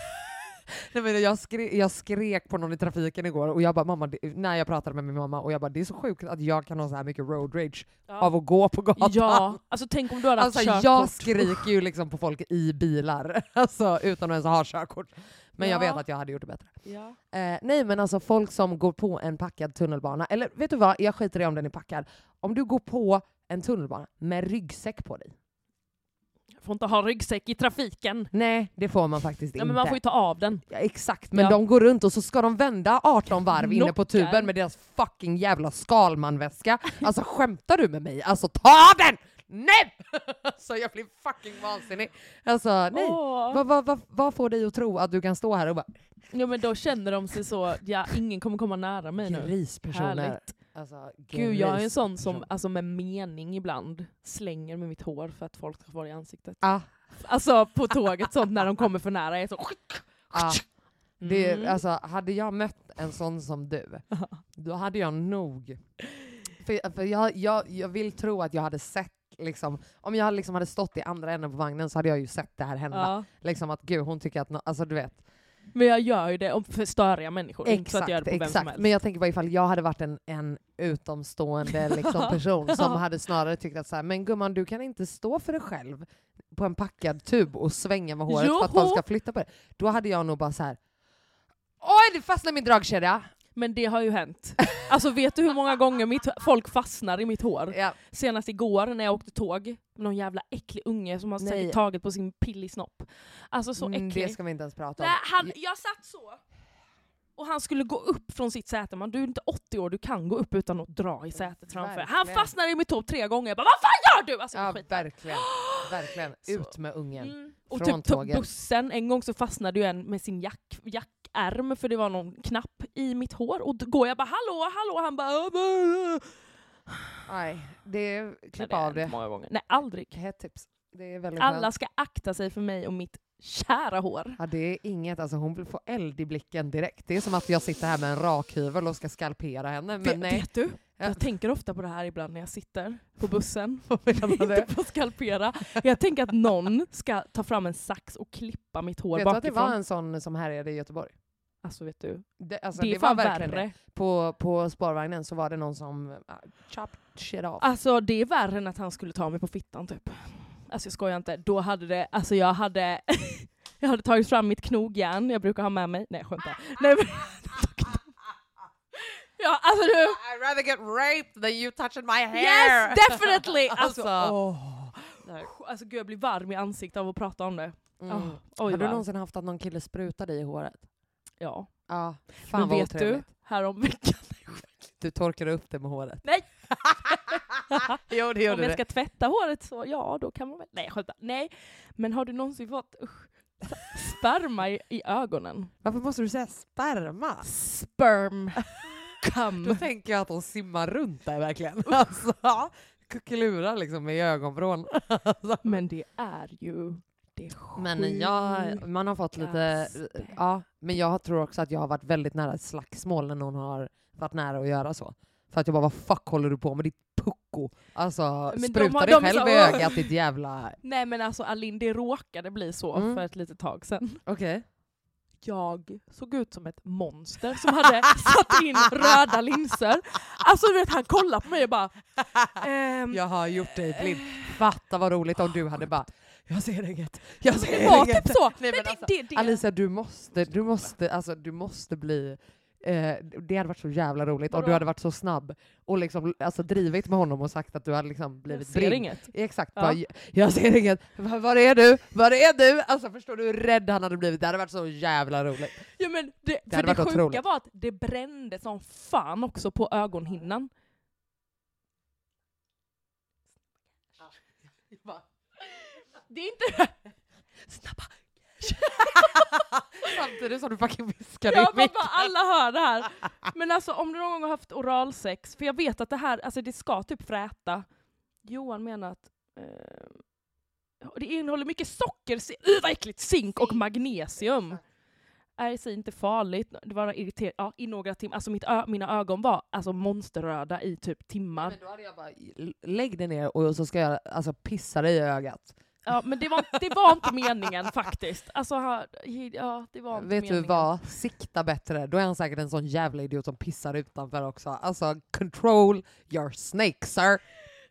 E: Nej, men jag, skrek, jag skrek på någon i trafiken igår och jag bara, mamma, det, när jag pratade med min mamma och jag bara, det är så sjukt att jag kan ha så här mycket road rage av att gå på gatan.
C: Ja, alltså tänk om du hade haft
E: Alltså
C: körkort.
E: jag skriker ju liksom på folk i bilar, alltså utan att ens ha körkort. Men jag
C: Ja.
E: vet att jag hade gjort det bättre.
C: Ja.
E: Eh, nej men alltså folk som går på en packad tunnelbana, eller vet du vad, jag skiter i om den är packad. Om du går på en tunnelbana med ryggsäck på dig.
C: Får inte ha ryggsäck i trafiken.
E: Nej, det får man faktiskt
C: Nej,
E: inte.
C: men man får ju ta av den.
E: Ja, exakt, men
C: Ja.
E: de går runt och så ska de vända 18 varv inne på
C: Knockar.
E: tuben med deras fucking jävla Skalmanväska. Alltså skämtar du med mig? Alltså ta den! Nu! Alltså jag blir fucking vansinnig. Alltså nej.
C: Åh.
E: Vad vad- vad- vad får dig att tro att du kan stå här och bara
C: Ja, men då känner de sig så, ja, ingen kommer komma nära mig nu.
E: grispersoner?
C: Härligt.
E: Alltså,
C: Gud, jag är en sån som
E: grisperson.
C: alltså, med mening ibland slänger med mitt hår för att folk ska vara i ansiktet.
E: Ah,
C: Alltså på tåget, sånt när de kommer för nära. Jag är så...
E: ah. Det,
C: Mm.
E: alltså, hade jag mött en sån som du, då hade jag nog... För, för jag, jag, jag vill tro att jag hade sett, liksom, om jag liksom hade stått i andra änden på vagnen så hade jag ju sett det här hända.
C: Ja.
E: Liksom att gud, hon tycker att, nå- alltså du vet.
C: Men jag gör ju det om- för störiga människor. inte så att jag gör det på vem som
E: exakt.
C: helst.
E: Men jag tänker bara ifall jag hade varit en, en utomstående liksom, person som hade snarare tyckt att så här, men gumman du kan inte stå för dig själv på en packad tub och svänga med håret för att de
C: Joho!
E: ska flytta på det. Då hade jag nog bara så här. Oj, det fastnade i min dragkedja!
C: Men det har ju hänt. Alltså vet du hur många gånger mitt, folk fastnar i mitt hår?
E: Ja.
C: Senast igår när jag åkte tåg, någon jävla äcklig unge som har
E: Nej.
C: säkert tagit på sin pillig snopp. Alltså så
E: Mm,
C: äcklig.
E: Det ska vi inte ens prata om.
C: Nej, han, jag satt så, och han skulle gå upp från sitt säte. Man, du är inte 80 år, du kan gå upp utan att dra i sätet framför. Han
E: Verkligen.
C: fastnade i mitt hår tre gånger. Jag bara vad fan gör du? Alltså,
E: ja,
C: skit.
E: verkligen. verkligen. Ut med ungen.
C: Mm. Och
E: Från
C: typ tog
E: tåget.
C: bussen, en gång så fastnade ju en med sin jack, jackärm för det var någon knapp i mitt hår. Och då går jag bara hallå, hallå, han bara... "Äh, äh, äh."
E: Nej, det är,
C: Nej,
E: klipp
C: det har
E: av
C: hänt
E: det.
C: Många gånger. Nej, aldrig.
E: Hett tips. Det är väldigt
C: Alla
E: skönt.
C: ska akta sig för mig och mitt kära hår.
E: Ja, det är inget, alltså hon får eld i blicken direkt. Det är som att jag sitter här med en rakhyvel och ska skalpera henne. Men
C: Vet-
E: nej.
C: Vet du?
E: Ja.
C: Jag tänker ofta på det här ibland när jag sitter på bussen.
E: menar du?
C: Inte på att skalpera. Jag tänker att någon ska ta fram en sax och klippa mitt hår
E: Vet du att det
C: bakifrån.
E: var en sån som härjade i Göteborg?
C: Alltså vet du,
E: Det, alltså,
C: det är
E: det var
C: fan
E: verkligen
C: värre.
E: det. På, på spårvagnen så var det någon som uh, chopped shit off.
C: Alltså det är värre än att han skulle ta mig på fittan typ. Alltså jag skojar inte. Då hade det, alltså jag hade, jag hade tagit fram mitt knogjärn jag brukar ha med mig. Nej jag skämtar. Nej men. ja alltså du.
E: I'd rather get raped than you touching my hair!
C: Yes definitely! Alltså,
E: Alltså.
C: åh. alltså gud jag blir varm i ansiktet av att prata om det.
E: Mm.
C: Åh, oj
E: Har du
C: vad-
E: någonsin haft att någon kille sprutar dig i håret?
C: Ja.
E: Ja, fan
C: Men
E: vad
C: vet du,
E: otrevligt.
C: häromveckan.
E: Du torkade upp det med håret.
C: Nej!
E: jo det
C: om jag ska tvätta håret så ja, då kan man väl... Nej jag skämtar. Nej. Men har du någonsin fått usch, sperma i, i ögonen?
E: Varför måste du säga sperma?
C: Mm. sperm
E: Då
C: come.
E: tänker jag att de simmar runt där verkligen. Alltså, kuckelurar liksom i ögonvrån. Alltså.
C: Men det är ju... Det är
E: Men jag, man har fått lite... eh,
C: Sjukaste.
E: Ja, men jag tror också att jag har varit väldigt nära ett slagsmål när någon har varit nära att göra så. För att jag bara, vad fuck håller du på med ditt pucko? Alltså,
C: Men de
E: spruta
C: har-
E: dig
C: de är
E: själv
C: så-
E: i ögat ditt jävla...
C: Nej men alltså Alin, det råkade bli så
E: Mm.
C: för ett litet tag sedan.
E: Okej.
C: Jag såg ut som ett monster som hade satt in röda linser. Alltså du vet, han kollade på mig och bara... Ehm,
E: Jag har gjort dig blind. Fatta vad roligt om du hade bara, jag ser inget, jag ser
C: det var
E: inget.
C: typ så! men
E: Nej, men
C: det,
E: alltså,
C: det, det.
E: Alicia, du måste, du måste, alltså, du måste bli... Eh, det hade varit så jävla roligt om
C: Vadå?
E: du hade varit så snabb och liksom, alltså, drivit med honom och sagt att du hade liksom
C: jag
E: blivit
C: ser
E: blind.
C: inget.
E: Exakt,
C: Ja.
E: bara, jag ser inget, Va- var är du? Var är du? Alltså förstår du hur rädd han hade blivit? Det hade varit så jävla roligt.
C: Ja, men det,
E: Det
C: för det
E: hade varit
C: sjuka
E: otroligt.
C: var att det brände som fan också på ögonhinnan. Det är inte... Snabba!
E: Samtidigt som du fucking viskar i
C: Ja,
E: micken.
C: pappa, alla hör det här. Men alltså om du någon gång har haft oralsex, för jag vet att det här, alltså det ska typ fräta. Johan menar att eh, det innehåller mycket socker, se- uh, vad äckligt, zink och magnesium. Är i sig inte farligt, det var irriterat, ja, i några timmar, alltså mitt ö- mina ögon var alltså monsterröda i typ timmar.
E: Men då hade jag bara, "L- lägg dig ner och så ska jag alltså, pissa dig i ögat.
C: Ja, men det var, det var inte meningen faktiskt. Alltså, ha- ja, det var
E: Vet
C: inte
E: du
C: meningen.
E: vad? Sikta bättre. Då är han säkert en sån jävla idiot som pissar utanför också. Alltså control your snake sir.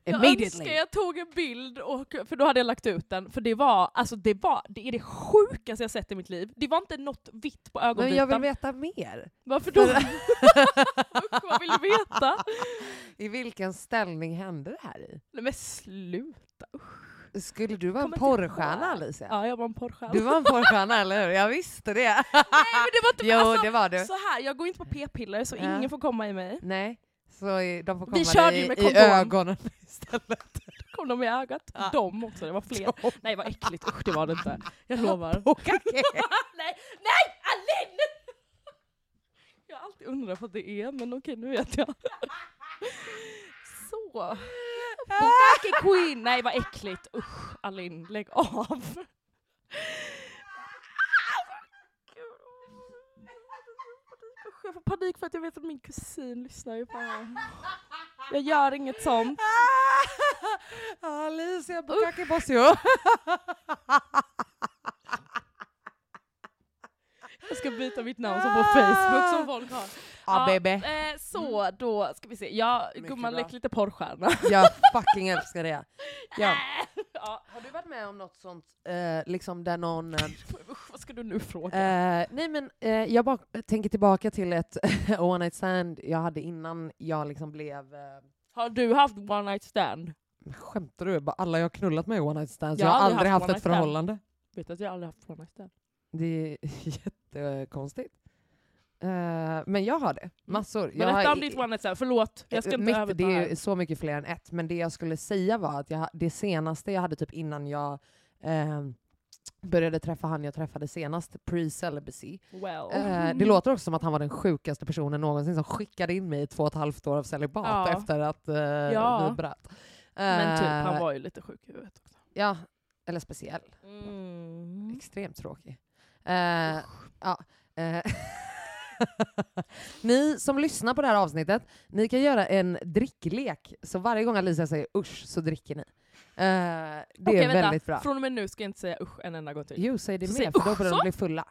C: Jag önskar
E: Immediately.
C: jag tog en bild, och, för då hade jag lagt ut den. För det var, alltså det var, det är det sjukaste jag sett i mitt liv. Det var inte något vitt på
E: Men jag
C: ögonvitan.
E: vill veta mer.
C: Varför då? Usch, Vad vill du veta?
E: I vilken ställning hände det här i?
C: Nej men sluta. Usch.
E: Skulle du vara en
C: Kommer
E: porrstjärna
C: inte ihåg.
E: Alicia?
C: Ja, jag var en porrstjärna.
E: Du var en porrstjärna eller hur? Jag visste det.
C: Nej men det var inte,
E: Jo
C: alltså,
E: det var du.
C: så här, jag går inte på p-piller så
E: Ja.
C: ingen får komma i mig.
E: Nej. Så i- de får komma
C: Vi körde
E: dig
C: ju med
E: i
C: kondom.
E: ögonen istället.
C: Kom de i ögat?
E: Ja.
C: De också, det var fler. Nej vad äckligt, usch det var det inte. Jag lovar. nej, nej Alin! Jag har alltid undrat vad det är, men okej nu vet jag. Så. Bukake Queen! Nej vad äckligt. Usch Alin, lägg av. Usch, Jag får panik för att jag vet att min kusin lyssnar ju på det här. Jag gör inget sånt.
E: Alicia Bukake Bossio.
C: Jag ska byta mitt namn som på Facebook som folk har.
E: Ja baby. Mm.
C: eh, så då ska vi se. Ja,
E: Mycket
C: gumman
E: bra.
C: lek lite porrstjärna.
E: Jag fucking älskar det. Ja.
C: ja.
E: Har du varit med om något sånt eh, liksom där någon... Eh,
C: Usch, vad ska du nu fråga?
E: Eh, nej men eh, jag bara tänker tillbaka till ett one night stand jag hade innan jag liksom blev... Eh,
C: Har du haft one night stand?
E: skämtar du? Bara Alla jag har knullat med i one night stands,
C: Jag
E: jag,
C: har
E: har
C: aldrig
E: aldrig
C: haft
E: haft,
C: one
E: ett
C: night stand.
E: förhållande.
C: Vet att jag aldrig haft one night stand?
E: Det är jättekonstigt. Eh, men jag
C: Mm.
E: har det, massor. Jag
C: Berätta
E: har- Eh,
C: om ditt one night stand, förlåt. Jag ska inte
E: mitt,
C: överta
E: det är ju
C: här.
E: så mycket fler än ett, men det jag skulle säga var att jag, ha- det senaste jag hade typ innan jag ehm, började träffa han jag träffade senast, pre-celibacy,
C: Well. Mm.
E: Eh, det låter också som att han var den sjukaste personen någonsin som skickade in mig i två och ett halvt år av celibat
C: Ja.
E: efter att eh,
C: Ja.
E: vi bröt.
C: Men typ, han
E: Eh,
C: var ju lite sjuk i huvudet också.
E: Ja, eller speciell.
C: Mm.
E: Extremt tråkig. Eh, ja, eh. ni som lyssnar på det här avsnittet, ni kan göra en dricklek. Så varje gång Alicia säger usch så dricker ni. Eh, det
C: Okej,
E: är
C: vänta.
E: väldigt bra.
C: Från och med nu ska jag inte säga usch en enda gång till.
E: Jo, säg det
C: Så
E: mer
C: säg
E: för då
C: usch
E: börjar de
C: så.
E: bli fulla.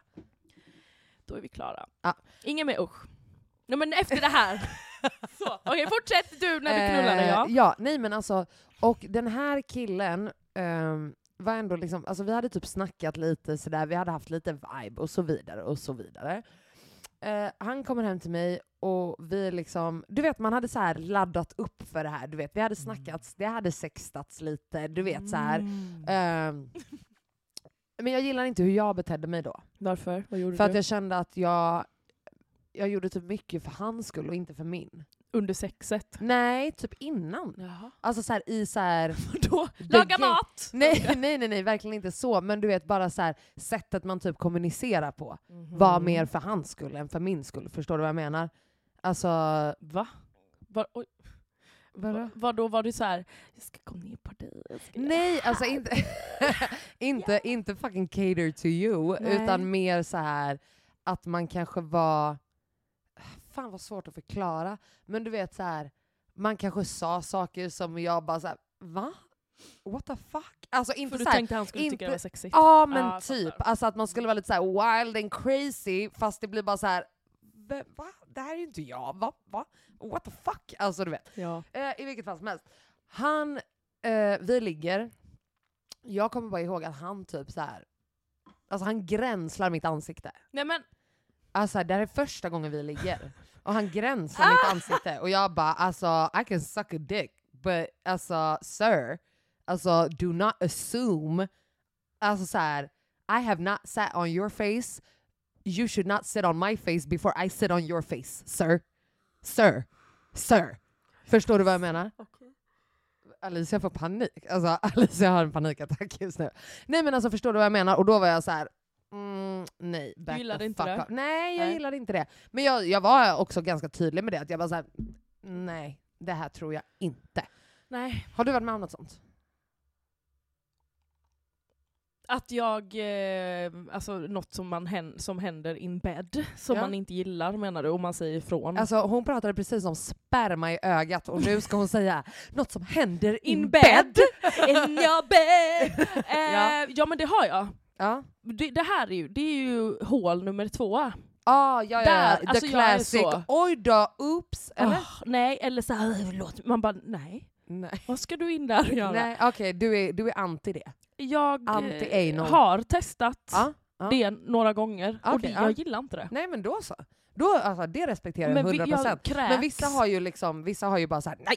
C: Då är vi klara.
E: Ja.
C: Ingen mer usch. Nej men efter det här. så. Okej, fortsätt du när du knullade
E: Eh,
C: ja.
E: Ja, nej men alltså, och den här killen ehm, var ändå liksom, alltså vi hade typ snackat lite sådär, vi hade haft lite vibe och så vidare och så vidare. Eh, han kommer hem till mig och vi liksom, du vet man hade så här laddat upp för det här, du vet vi
C: Mm.
E: hade snackats, det hade sextats lite, du vet så här.
C: Mm.
E: Ehm, men jag gillar inte hur jag betedde mig då.
C: Varför? Vad gjorde
E: För att
C: du?
E: jag kände att jag, jag gjorde typ mycket för hans skull och inte för min.
C: Under sexet?
E: Nej, typ innan.
C: Jaha.
E: Alltså så här, i så här...
C: Då,
E: The
C: laga
E: gay-
C: mat!
E: Nej, nej, nej, nej, verkligen inte så. Men du vet, bara så här, sättet man typ kommunicerar på var
C: Mm.
E: mer för hans skull än för min skull. Förstår du vad jag menar? Alltså...
C: Va? Var, oj,
E: Vadå?
C: var då var du så här, jag ska gå ner på dig. jag ska göra
E: Nej,
C: det
E: alltså
C: här."
E: inte, inte, inte fucking cater to you,
C: Nej.
E: utan mer så här att man kanske var... Fan vad svårt att förklara. Men du vet så här, man kanske sa saker som jag bara så här, va? What the fuck? Alltså inte
C: För du
E: så här,
C: tänkte han skulle tycka
E: inte-
C: det var sexigt.
E: Ja men
C: Ja, jag
E: typ,
C: fattar.
E: alltså att man skulle vara lite så här wild and crazy fast det blir bara så här. "Vem- Va? Det här är ju inte jag, va? va? What the fuck? Alltså du vet.
C: Ja.
E: Eh, I vilket fall som helst. Han, eh, vi ligger, jag kommer bara ihåg att han typ så här. alltså han gränslar mitt ansikte.
C: Nej men,
E: Alltså det här är första gången vi ligger. Och han gränsar mitt ansikte och jag bara alltså I can suck a dick but alltså sir, alltså do not assume. Alltså så här, I have not sat on your face. You should not sit on my face before I sit on your face sir. Sir. Sir. Förstår du vad jag menar? Alicia får panik. Alltså Alicia har en panikattack just nu. Nej men alltså förstår du vad jag menar? Och då var jag så här. Mm, nej, back
C: gillade
E: the
C: inte
E: fuck
C: det?
E: up. Nej, jag
C: Nej.
E: gillade inte det. Men jag, jag var också ganska tydlig med det, att jag bara såhär, nej, det här tror jag inte.
C: Nej.
E: Har du varit med om något sånt?
C: Att jag, eh, alltså något som, man hän, som händer in bed, som
E: Ja.
C: man inte gillar menar du, och man säger ifrån.
E: Alltså hon pratade precis om sperma i ögat och nu ska hon säga något som händer in,
C: In
E: bed.
C: bed. In your bed!
E: Ja.
C: eh, ja men det har jag.
E: Ja.
C: Det, det här är ju, det är ju hål nummer två.
E: Ah, ja, ja, ja.
C: Där,
E: The
C: alltså jag är
E: classic.
C: så.
E: Oj då, oops. Eller?
C: Ah, nej, eller så här, låt, man bara nej.
E: Nej,
C: Vad ska du in där och göra?
E: Nej okej, du, är, du är anti det.
C: Jag eh,
E: Anti-anal.
C: har testat
E: Ja, ja.
C: det några gånger och
E: Okej, ah.
C: det,
E: ja.
C: jag gillar inte det.
E: Nej men då så. Då, alltså, det respekterar jag
C: Men vi-
E: 100%.
C: jag kräks.
E: Men vissa har ju liksom, vissa har ju bara såhär, nej!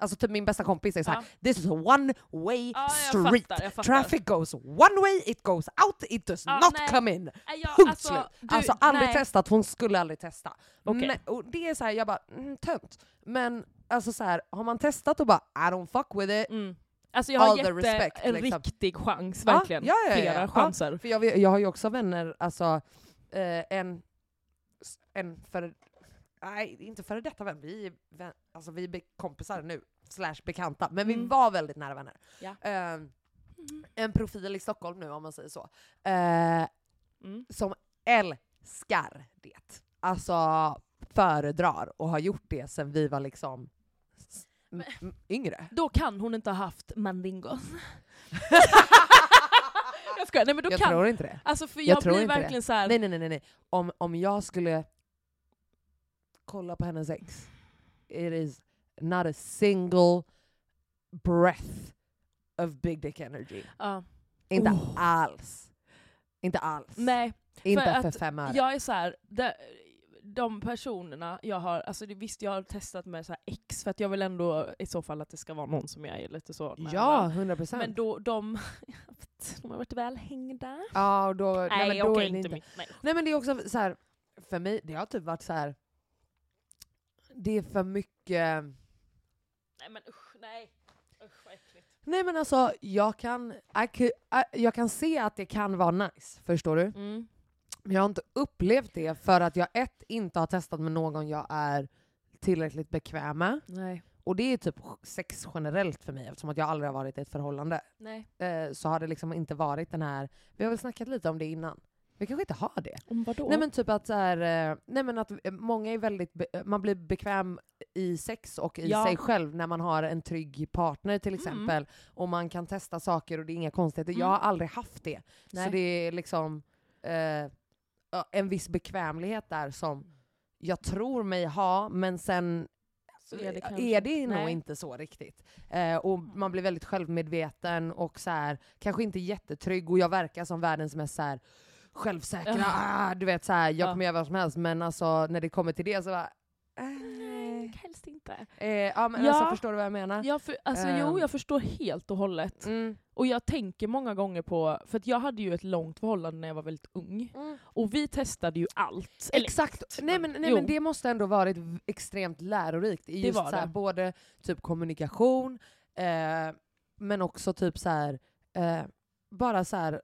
E: Alltså typ min bästa kompis är såhär,
C: Ja.
E: this is a one way
C: Ja, jag
E: street.
C: fattar, jag fattar.
E: Traffic goes one way, it goes out, it does
C: Ja,
E: not
C: nej.
E: come in.
C: Nej, jag-
E: Punkt
C: alltså,
E: slut.
C: du-
E: alltså aldrig
C: nej.
E: testat, hon skulle aldrig testa.
C: Okej.
E: Men, och det är såhär, jag bara, mm, tönt. Men alltså såhär, har man testat och bara, I don't fuck with it.
C: Mm. Alltså jag har
E: All the
C: gett det
E: respect,
C: en
E: liksom.
C: riktig chans, verkligen.
E: Ja, ja, ja, ja.
C: Flera
E: Ja, Ah.
C: chanser.
E: För jag, vet- jag har ju också vänner, alltså eh, en, en för, nej inte före detta vän, vi är, vän, alltså vi är kompisar nu, slash bekanta, men vi
C: Mm.
E: var väldigt nära vänner.
C: Ja.
E: Eh, en profil i Stockholm nu om man säger så, eh,
C: Mm.
E: som älskar det. Alltså föredrar och har gjort det sen vi var liksom s- m- m- yngre.
C: Då kan hon inte ha haft mandingo. jag skojar, nej men då
E: jag
C: kan...
E: tror inte det.
C: Alltså för
E: jag
C: jag,
E: tror
C: blir
E: inte det.
C: verkligen så här.
E: Nej nej nej, nej nej. Om, om jag skulle kolla på hennes ex, it is not a single breath of big dick energy.
C: ja.
E: Inte
C: Oh.
E: alls. Inte alls.
C: nej.
E: inte
C: för
E: för,
C: att
E: fem öre.
C: Jag är så här, de, de personerna jag har, alltså det, visst jag har testat med så här ex för att jag vill ändå i så fall att det ska vara någon som jag är lite så nära.
E: Ja, 100 procent.
C: Men då, de, de har varit väl hängda.
E: Ja, och då, nej,
C: Nej,
E: men
C: okej,
E: då är det
C: inte,
E: inte.
C: mitt. Nej.
E: Nej men det är också så här. för mig, det har typ varit så här. det är för mycket
C: nej men usch, nej. Usch vad äckligt.
E: Nej men alltså, jag kan, I could, I, jag kan se att det kan vara nice, förstår du?
C: Mm.
E: Men jag har inte upplevt det för att jag ett, inte har testat med någon jag är tillräckligt bekväm med.
C: Nej.
E: Och det är typ sex generellt för mig eftersom att jag aldrig har varit i ett förhållande.
C: Nej.
E: Eh, så har det liksom inte varit den här, vi har väl snackat lite om det innan. Vi kanske inte har det.
C: Om vadå?
E: Nej men typ att, så här, eh, nej, men att eh, många är väldigt, be- eh, man blir bekväm i sex och i
C: Ja.
E: sig själv när man har en trygg partner till exempel. Och man kan testa saker och det är inga konstigheter. Jag
C: Mm.
E: har aldrig haft det. Så
C: Nej.
E: det är liksom eh, ja, en viss bekvämlighet där som jag tror mig ha, men sen
C: Så är det kanske.
E: är det nog
C: Nej. Mm.
E: inte så riktigt. Eh, och man blir väldigt självmedveten och så här, kanske inte jättetrygg och jag verkar som världens mest så här, självsäkra,
C: Ja.
E: ah, du vet så här, jag
C: Ja.
E: kommer göra vad som helst men alltså när det kommer till det så bara... eh,
C: Helst inte.
E: Eh, ja men
C: Ja.
E: alltså förstår du vad jag menar?
C: Jag för, alltså,
E: Ehm.
C: jo, jag förstår helt och hållet.
E: Mm,
C: Och jag tänker många gånger på, för att jag hade ju ett långt förhållande när jag var väldigt ung.
E: mm.
C: Och vi testade ju allt. Eller-
E: Exakt! Nej, men, nej
C: Jo.
E: men det måste ändå varit v- extremt lärorikt i
C: Det
E: just
C: var
E: så här,
C: det.
E: både typ kommunikation, eh, men också typ så här, eh, bara så här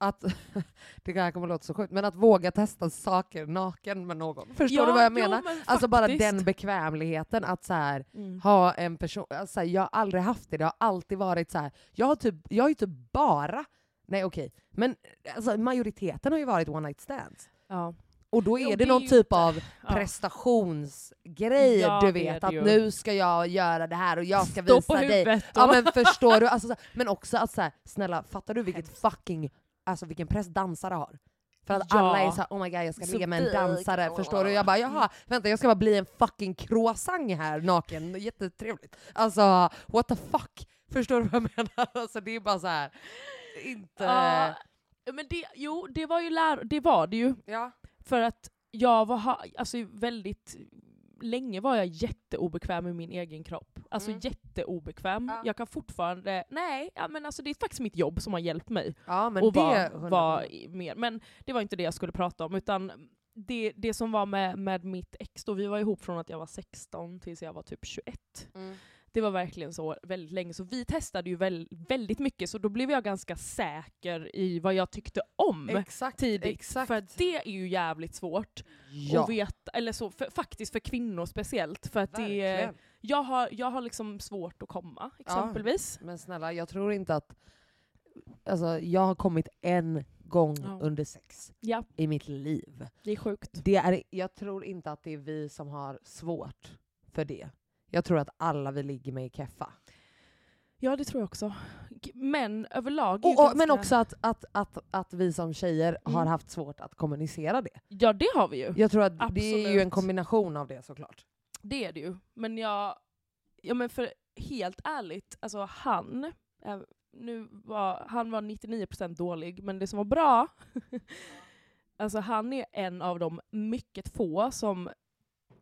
E: att, det här kommer att låta så sjukt, men att våga testa saker naken med någon. Förstår
C: Ja,
E: du vad jag
C: jo,
E: menar?
C: men
E: Alltså bara
C: faktiskt.
E: den bekvämligheten att så här,
C: Mm.
E: ha en person, alltså, så här, jag har aldrig haft det, det har alltid varit så här. jag har typ, jag har ju typ bara, nej okej, men alltså, majoriteten har ju varit one night stands.
C: Ja.
E: Och då är
C: Jo,
E: det,
C: det är
E: någon
C: ju
E: typ
C: inte-
E: av
C: Ja.
E: prestationsgrej,
C: Ja,
E: du
C: det är
E: vet
C: det
E: att
C: ju.
E: nu ska jag göra det här och jag ska
C: Stå
E: visa
C: på
E: dig.
C: huvudet
E: Ja
C: och-
E: men förstår du? Alltså, så, men också att så här, snälla fattar du vilket fucking, alltså vilken press dansare har? För att
C: Ja.
E: alla är såhär oh my god jag ska
C: Så Mm.
E: ligga med en
C: dyk.
E: dansare, förstår du? Jag bara jaha, vänta jag ska bara bli en fucking croissant här naken, jättetrevligt. Alltså what the fuck? Förstår du vad jag menar? Alltså det är bara så här. inte...
C: Ja, men det, jo, det var ju lär, det var det ju.
E: Ja.
C: För att jag var ha, alltså väldigt länge var jag jätteobekväm i min egen kropp. Alltså
E: Mm.
C: jätteobekväm.
E: Ja.
C: Jag kan fortfarande, nej, ja, men alltså det är faktiskt mitt jobb som har hjälpt mig.
E: ja men
C: och
E: det...
C: var,
E: 100%.
C: var i- mer. Men det var inte det jag skulle prata om, utan det, det som var med, med mitt ex då, vi var ihop från att jag var 16 tills jag var typ 21.
E: Mm.
C: Det var verkligen så väldigt länge, så vi testade ju väl, väldigt mycket, så då blev jag ganska säker i vad jag tyckte om
E: Exakt,
C: tidigt.
E: exakt.
C: För att det är ju jävligt svårt
E: ja,
C: att veta, eller så, för, faktiskt för kvinnor speciellt. För att det,
E: verkligen.
C: jag, har, jag har liksom svårt att komma, exempelvis.
E: Men snälla, jag tror inte att... Alltså, jag har kommit en gång
C: Ja.
E: under sex
C: Ja,
E: i mitt liv.
C: det är sjukt.
E: Det är, jag tror inte att det är vi som har svårt för det. Jag tror att alla vi ligger med är keffa.
C: Ja, det tror jag också. G- Men överlag... är
E: Och,
C: ju
E: och, men
C: ganska-
E: också att, att, att, att vi som tjejer har
C: Mm.
E: haft svårt att kommunicera det.
C: Ja, det har vi ju.
E: Jag tror att det är ju en
C: Absolut.
E: kombination av det såklart.
C: Det är det ju. Men jag... Ja men för helt ärligt, alltså han... eh, Nu var, han var 99% dålig, men det som var bra... alltså han är en av de mycket få som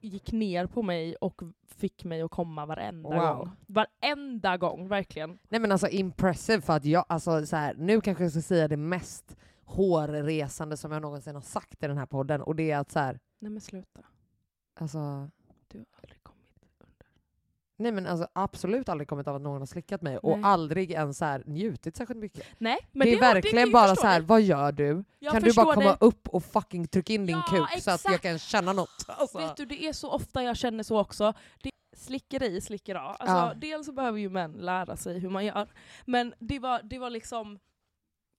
C: gick ner på mig och fick mig att komma varenda
E: Wow.
C: gång. Varenda gång, verkligen.
E: Nej men alltså impressive för att jag, alltså så här, nu kanske jag ska säga det mest hårresande som jag någonsin har sagt i den här podden och det är att så här,
C: Nej men sluta.
E: alltså,
C: Du har aldrig kommit under.
E: nej men alltså absolut aldrig kommit av att någon har slickat mig och
C: Nej.
E: aldrig ens så här, njutit särskilt mycket.
C: Nej, men
E: det
C: det,
E: är verkligen bara så här, vad gör du?
C: Jag
E: kan du bara
C: förstår
E: komma
C: dig.
E: upp och fucking trycka in din
C: Ja,
E: kuk så att jag
C: exakt.
E: kan känna något? Alltså.
C: Vet du, det är så ofta jag känner så också. Det slicker i, slicker av. Alltså,
E: Ja.
C: Dels så behöver ju män lära sig hur man gör. Men det var, det var liksom...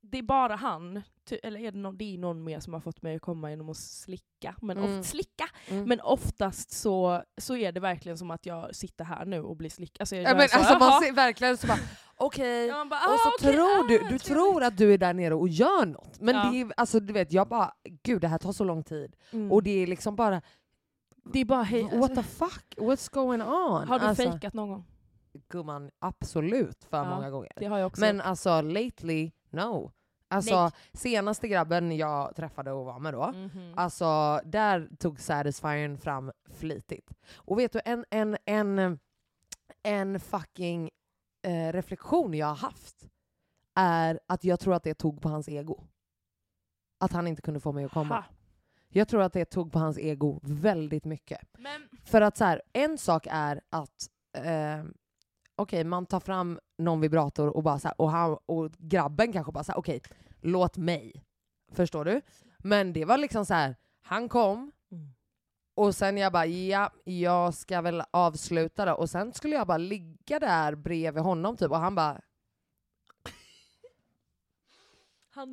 C: Det är bara han, ty- eller är det, någon, det är någon mer som har fått mig att komma genom att slicka. Men,
E: Mm.
C: oft, slicka.
E: Mm.
C: men oftast så, så är det verkligen som att jag sitter här nu och blir slickad. Alltså jag
E: ja,
C: gör
E: men
C: så,
E: alltså man
C: "Jaha."
E: ser verkligen så bara, okej.
C: Ja, man bara,
E: Och
C: "Ah,
E: så
C: okej,
E: tror du,
C: ah,
E: du
C: trevligt."
E: tror att du är där nere och gör något. Men
C: Ja.
E: det är, alltså du vet, jag bara, gud det här tar så lång tid.
C: Mm.
E: Och det är liksom bara,
C: det är bara hej. alltså,
E: what the fuck? What's going on?
C: har du
E: alltså,
C: fejkat någon gång?
E: Gumman, absolut för
C: Ja,
E: många gånger.
C: Det har jag också.
E: Men alltså lately, no. Alltså senaste grabben jag träffade och var med då,
C: Mhm.
E: Alltså där tog Satisfyern fram flitigt. Och vet du, en, en, en, en fucking eh, reflektion jag har haft är att jag tror att det tog på hans ego. Att han inte kunde få mig att komma.
C: Ha.
E: Jag tror att det tog på hans ego väldigt mycket.
C: Men,
E: För att så här, en sak är att eh, okej, man tar fram någon vibrator och, bara så här, och, han, och grabben kanske bara så här, okej, låt mig. Förstår du? Men det var liksom så här, han kom
C: Mm.
E: och sen jag bara, ja, jag ska väl avsluta då. Och sen skulle jag bara ligga där bredvid honom typ och han bara,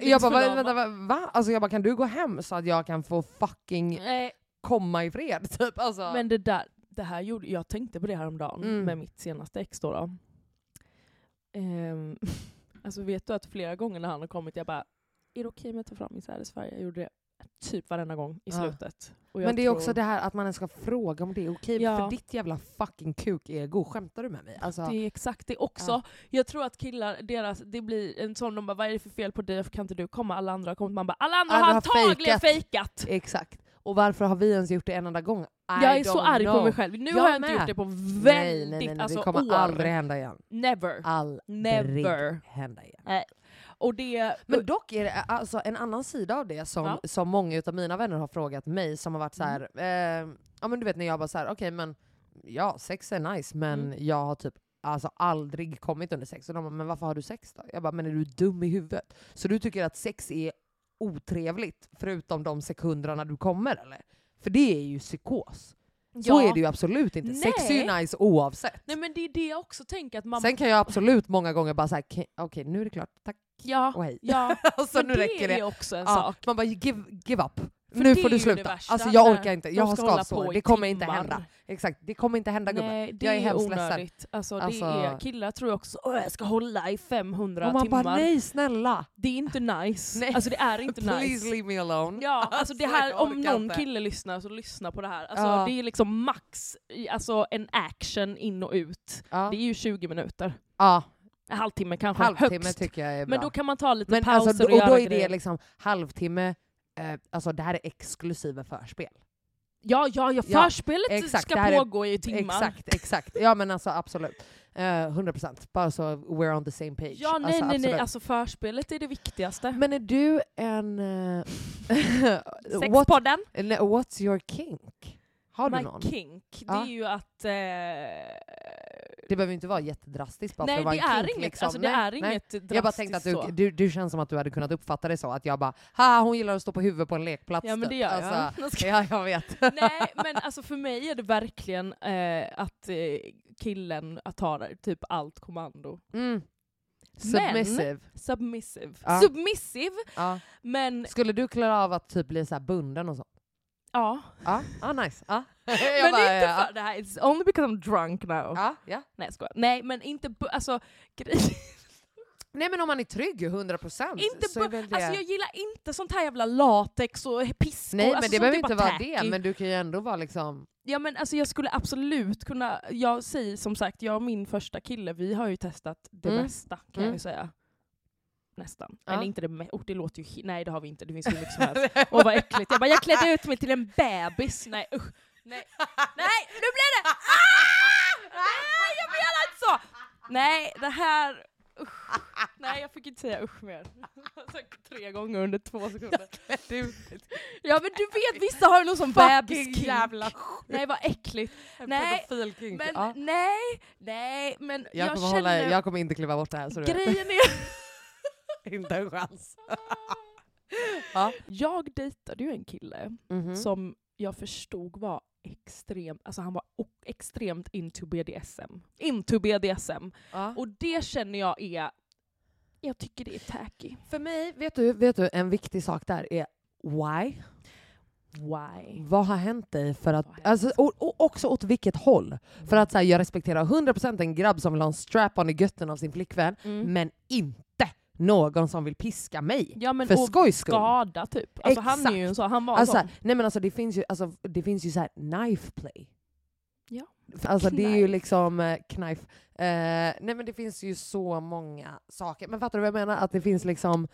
E: jag bara, va, vänta, va, va? Alltså jag bara, kan du gå hem så att jag kan få fucking
C: Nej,
E: komma i fred? Typ alltså.
C: Mm. Men det där, det här gjorde, jag tänkte på det här om dagen
E: Mm.
C: med mitt senaste ex då. då. Ehm, alltså vet du att flera gånger när han har kommit, jag bara är det okej om jag tar fram min Satisfyer? Jag gjorde det typ varenda gång i
E: Ja.
C: slutet. Och jag
E: Men det är
C: tror-
E: också det här att man ens ska fråga om det är okej
C: Ja.
E: för ditt jävla fucking kuk-ego. Skämtar du med mig? Alltså,
C: Det är exakt det också.
E: Ja.
C: Jag tror att killar, deras, det blir en sån, de bara vad är det för fel på dig, varför kan inte du komma? Alla andra har kommit, man bara alla andra
E: Alla
C: har
E: har
C: antagligen
E: fejkat."
C: fejkat!
E: Exakt. Och varför har vi ens gjort det en enda gång? I
C: jag är så
E: don't
C: arg på
E: know.
C: mig själv. Nu
E: Jag
C: har jag inte
E: med.
C: gjort det på väldigt,
E: Nej, nej, nej, nej.
C: alltså
E: det kommer
C: år.
E: aldrig hända igen.
C: Never.
E: Aldrig
C: Never.
E: hända igen.
C: Och det...
E: Men dock är det alltså, en annan sida av det som,
C: Ja. Mm.
E: som många av mina vänner har frågat mig som har varit så här, eh, ja men du vet när jag bara så här, okej men ja sex är nice men
C: Mm.
E: jag har typ alltså aldrig kommit under sex. Och de bara, men varför har du sex då? Jag bara, men är du dum i huvudet? Så du tycker att sex är otrevligt förutom de sekunderna du kommer eller? För det är ju psykos. Så
C: Ja.
E: är det ju absolut inte. Sex är ju
C: Nej.
E: nice oavsett.
C: Nej men det är det jag också tänker att man...
E: Sen kan jag absolut många gånger bara säga okej nu är det klart, tack
C: ja,
E: och hej.
C: ja.
E: alltså
C: men
E: nu räcker
C: är
E: det.
C: ju också en
E: Ja,
C: sak.
E: Alltså, Man bara give, give up. nu
C: det
E: får
C: är ju
E: du
C: det
E: sluta.
C: värsta,
E: Alltså jag
C: när
E: orkar inte,
C: de
E: jag har
C: ska hålla
E: skavsår.
C: på i
E: Det kommer inte
C: timmar.
E: hända. Exakt, det kommer inte hända gubben.
C: Nej, det
E: Jag är
C: är
E: hemskt ledsen.
C: onödigt. Alltså,
E: Alltså-
C: Det är, killar tror jag också åh jag ska hålla i 500
E: Och man
C: timmar.
E: bara nej snälla.
C: Det är inte nice.
E: Nej.
C: Alltså det är inte
E: Please
C: nice.
E: leave me alone.
C: Ja, alltså det här,
E: jag
C: om
E: orkar
C: någon
E: inte.
C: kille lyssnar så lyssna på det här. Alltså
E: Ja.
C: det är liksom max, i- alltså en action in och ut.
E: Ja.
C: Det är ju 20 minuter.
E: Ja,
C: En halvtimme kanske,
E: halvtimme
C: högst.
E: tycker jag är bra.
C: Men då kan man ta lite
E: Men
C: pauser
E: alltså,
C: och,
E: och då
C: göra
E: är det
C: grejer.
E: liksom halvtimme, eh, alltså det här är exklusive förspel.
C: Ja, ja, ja,
E: Ja,
C: förspelet
E: exakt, det här
C: ska
E: är-
C: pågå i timmar.
E: Exakt, exakt. Ja men alltså absolut. Eh, 100%. Bara så we're on the same page.
C: Ja, nej,
E: alltså,
C: nej, nej.
E: absolut.
C: Alltså förspelet är det viktigaste.
E: Men är du en... eh, what,
C: Sexpodden,
E: nej, what's your kink? Har du
C: my
E: någon?
C: kink, det
E: Ja.
C: är ju att eh,
E: Det behöver ju inte vara jättedrastiskt bara för
C: Nej
E: att vara
C: det
E: en
C: är
E: kink,
C: inget,
E: liksom.
C: alltså, det
E: Nej,
C: är
E: nej.
C: inget drastiskt
E: Jag bara tänkte att
C: så.
E: du, du, du känns som att du hade kunnat uppfatta det så, att jag bara ha hon gillar att stå på huvudet på en lekplats.
C: Ja men
E: typ."
C: det gör jag.
E: Alltså,
C: Jag ska-
E: ja, jag vet.
C: Nej men alltså för mig är det verkligen eh, att eh, killen att ta typ allt kommando.
E: Mm. Submissive.
C: Submissive.
E: Ja.
C: Submissive
E: Ja.
C: men
E: Skulle du klara av att typ bli så här bunden och så?
C: ja.
E: Ja, ah, nice. Ah. Jag
C: men
E: bara,
C: inte
E: ja,
C: för det här, it's only because I'm drunk now.
E: ja, ja.
C: Nej jag skojar. Nej men inte bu- alltså grej.
E: Nej men om man är trygg 100%
C: Inte
E: så är
C: bu-
E: väl det...
C: Alltså jag gillar inte sånt här jävla latex och piskor.
E: Nej men
C: alltså,
E: det
C: sånt
E: behöver
C: är bara
E: inte vara
C: tacky.
E: det, men du kan ju ändå vara liksom...
C: Ja men alltså jag skulle absolut kunna, jag säger som sagt, jag och min första kille, vi har ju testat det
E: Mm.
C: mesta kan
E: Mm.
C: jag ju säga. Nästan.
E: Ja.
C: Eller inte det mesta, oh, det låter ju, hi- nej det har vi inte, det finns hur mycket som helst. Och vad äckligt, jag bara jag klädde ut mig till en bebis, nej usch. Nej, nej nu blev det! Ah! Nej jag menar inte så! Nej det här, usch. Nej jag fick inte säga usch mer. Jag har sagt tre gånger under två sekunder. Ja men du vet vissa har ju någon sån bebiskink. Nej vad äckligt. Nej,
E: pedofilkink.
C: Men
E: Ja.
C: nej, nej, men jag,
E: Jag, kommer
C: känner...
E: hålla, jag kommer inte kliva bort det här så du vet.
C: Grejen är...
E: Inte en chans. Ja.
C: Jag dejtade ju en kille
E: Mhm.
C: som jag förstod var extremt, alltså han var o- extremt into BDSM. Into BDSM.
E: Ja.
C: Och det känner jag är, jag tycker det är tacky.
E: För mig, vet du, vet du, en viktig sak där är why?
C: Why?
E: Vad har hänt dig? För att,
C: Vad har hänt?
E: alltså, och, och också åt vilket håll? För att så här, jag respekterar 100% en grabb som vill ha en strap-on i götten av sin flickvän,
C: Mm.
E: men inte någon som vill piska mig.
C: Ja men
E: för
C: och
E: skojs skull.
C: skada typ. Alltså han är ju en sån, han var en
E: Alltså,
C: sån.
E: nej men alltså det finns ju, alltså, det finns ju så här knife play.
C: Ja.
E: Alltså det är ju
C: Knife.
E: liksom eh, knife. Eh, nej men det finns ju så många saker. Men fattar du vad jag menar? Att det finns liksom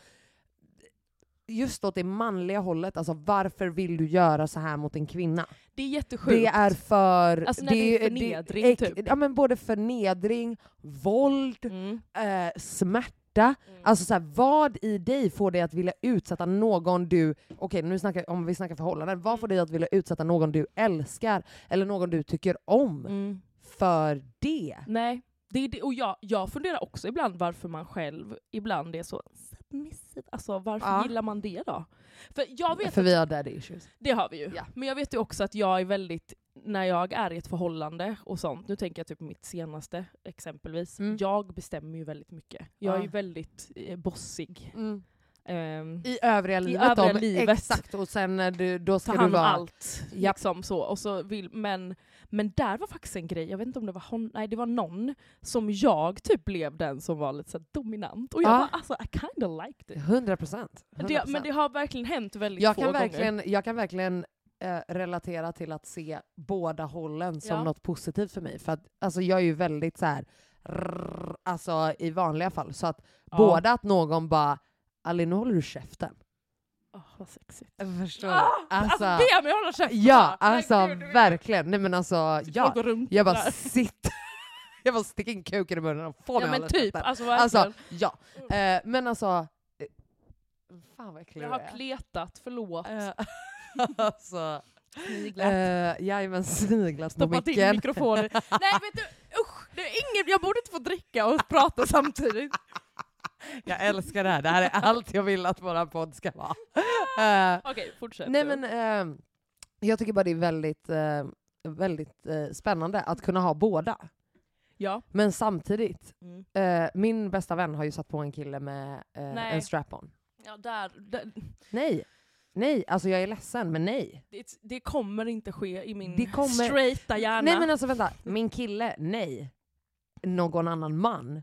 E: just åt det manliga hållet, alltså varför vill du göra så här mot en kvinna?
C: Det är jättesjukt.
E: Det är för...
C: Alltså, när det är förnedring,
E: äck-
C: typ.
E: Ja men både förnedring, våld,
C: Mm.
E: eh, smärta. Alltså så här, vad i dig får dig att vilja utsätta någon du, okej nu snackar, om vi snackar förhållanden, vad får
C: Mm.
E: dig att vilja utsätta någon du älskar eller någon du tycker om
C: Mm.
E: för det?
C: Nej. Det är det, och jag, jag funderar också ibland varför man själv ibland är så submissive. Alltså varför
E: Ja.
C: gillar man det då? För jag vet,
E: För vi har daddy issues.
C: det har vi ju.
E: Ja.
C: Men jag vet ju också att jag är väldigt, när jag är i ett förhållande och sånt, nu tänker jag typ mitt senaste exempelvis,
E: Mm.
C: jag bestämmer ju väldigt mycket. Jag är
E: Ja.
C: ju väldigt eh, bossig. Ehm,
E: I övriga livet
C: Mm. övriga
E: då, men
C: livet.
E: Exakt, och sen när du, då ska
C: ta
E: du
C: hand om
E: vara...
C: allt.
E: Japp.
C: Liksom så. Och så vill, men, men där var faktiskt en grej, jag vet inte om det var hon, nej det var någon som jag typ blev den som var lite så här dominant. Och jag
E: Ja.
C: bara alltså I kinda liked it.
E: 100 procent.
C: Det, men det har verkligen hänt väldigt
E: jag
C: få
E: kan,
C: gånger.
E: verkligen, jag kan verkligen eh, relatera till att se båda hållen som
C: Ja.
E: något positivt för mig. För att, alltså, jag är ju väldigt så här, rrr, alltså i vanliga fall. Så att
C: Ja.
E: båda att någon bara “Ali, nu håller du käften”.
C: Åh, vad sexigt.
E: Förstår
C: Ah, alltså, be mig hålla käften!
E: Mm, ja,
C: bara.
E: alltså
C: Herregud, du vet.
E: verkligen. Nej men alltså,
C: Sitter
E: ja.
C: folk och runkar
E: Jag bara
C: där.
E: sitt. jag bara stick in kuken i munnen och få mig
C: Ja
E: att
C: men
E: hålla
C: typ,
E: käften.
C: alltså verkligen. Mm.
E: Alltså, ja. Eh, men alltså... eh, Fan vad äcklig
C: jag
E: du
C: har kletat, förlåt.
E: är. Eh, alltså...
C: Sniglat.
E: Uh, jajamän, sniglat på
C: Stoppat in
E: micken.
C: mikrofonen. Nej vet du, usch! Det är ingen, jag borde inte få dricka och prata samtidigt.
E: Jag älskar det här, det här är allt jag vill att våran podd ska vara. Eh,
C: Okej, fortsätt.
E: nej
C: du.
E: men eh, jag tycker bara det är väldigt, eh, väldigt eh, spännande att kunna ha båda.
C: ja.
E: Men samtidigt,
C: Mm.
E: eh, min bästa vän har ju satt på en kille med eh,
C: Nej.
E: en strap-on.
C: Ja, där, där,
E: Nej, nej, alltså jag är ledsen men nej.
C: det, det kommer inte ske i min
E: Det kommer-
C: straighta hjärna.
E: Nej men alltså vänta, min kille, nej. Någon annan man,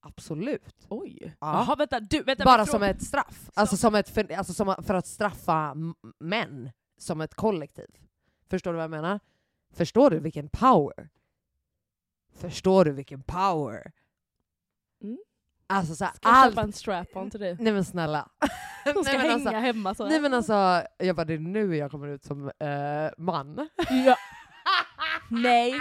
E: absolut.
C: Oj.
E: Ja.
C: Jaha, vänta. Du, vänta
E: Bara
C: min
E: som
C: fråga-
E: ett straff. Alltså, som ett för, alltså som, för att straffa m- män som ett kollektiv. Förstår du vad jag menar? Förstår du vilken power? Förstår du vilken power?
C: Mm.
E: Alltså så här,
C: Ska jag
E: allt...
C: köpa en strap-on till dig?
E: Nej men snälla.
C: Som ska
E: nej, men
C: hänga
E: alltså,
C: hemma så här.
E: nej men alltså, jag bara det är nu jag kommer ut som eh, man.
C: Ja. Nej.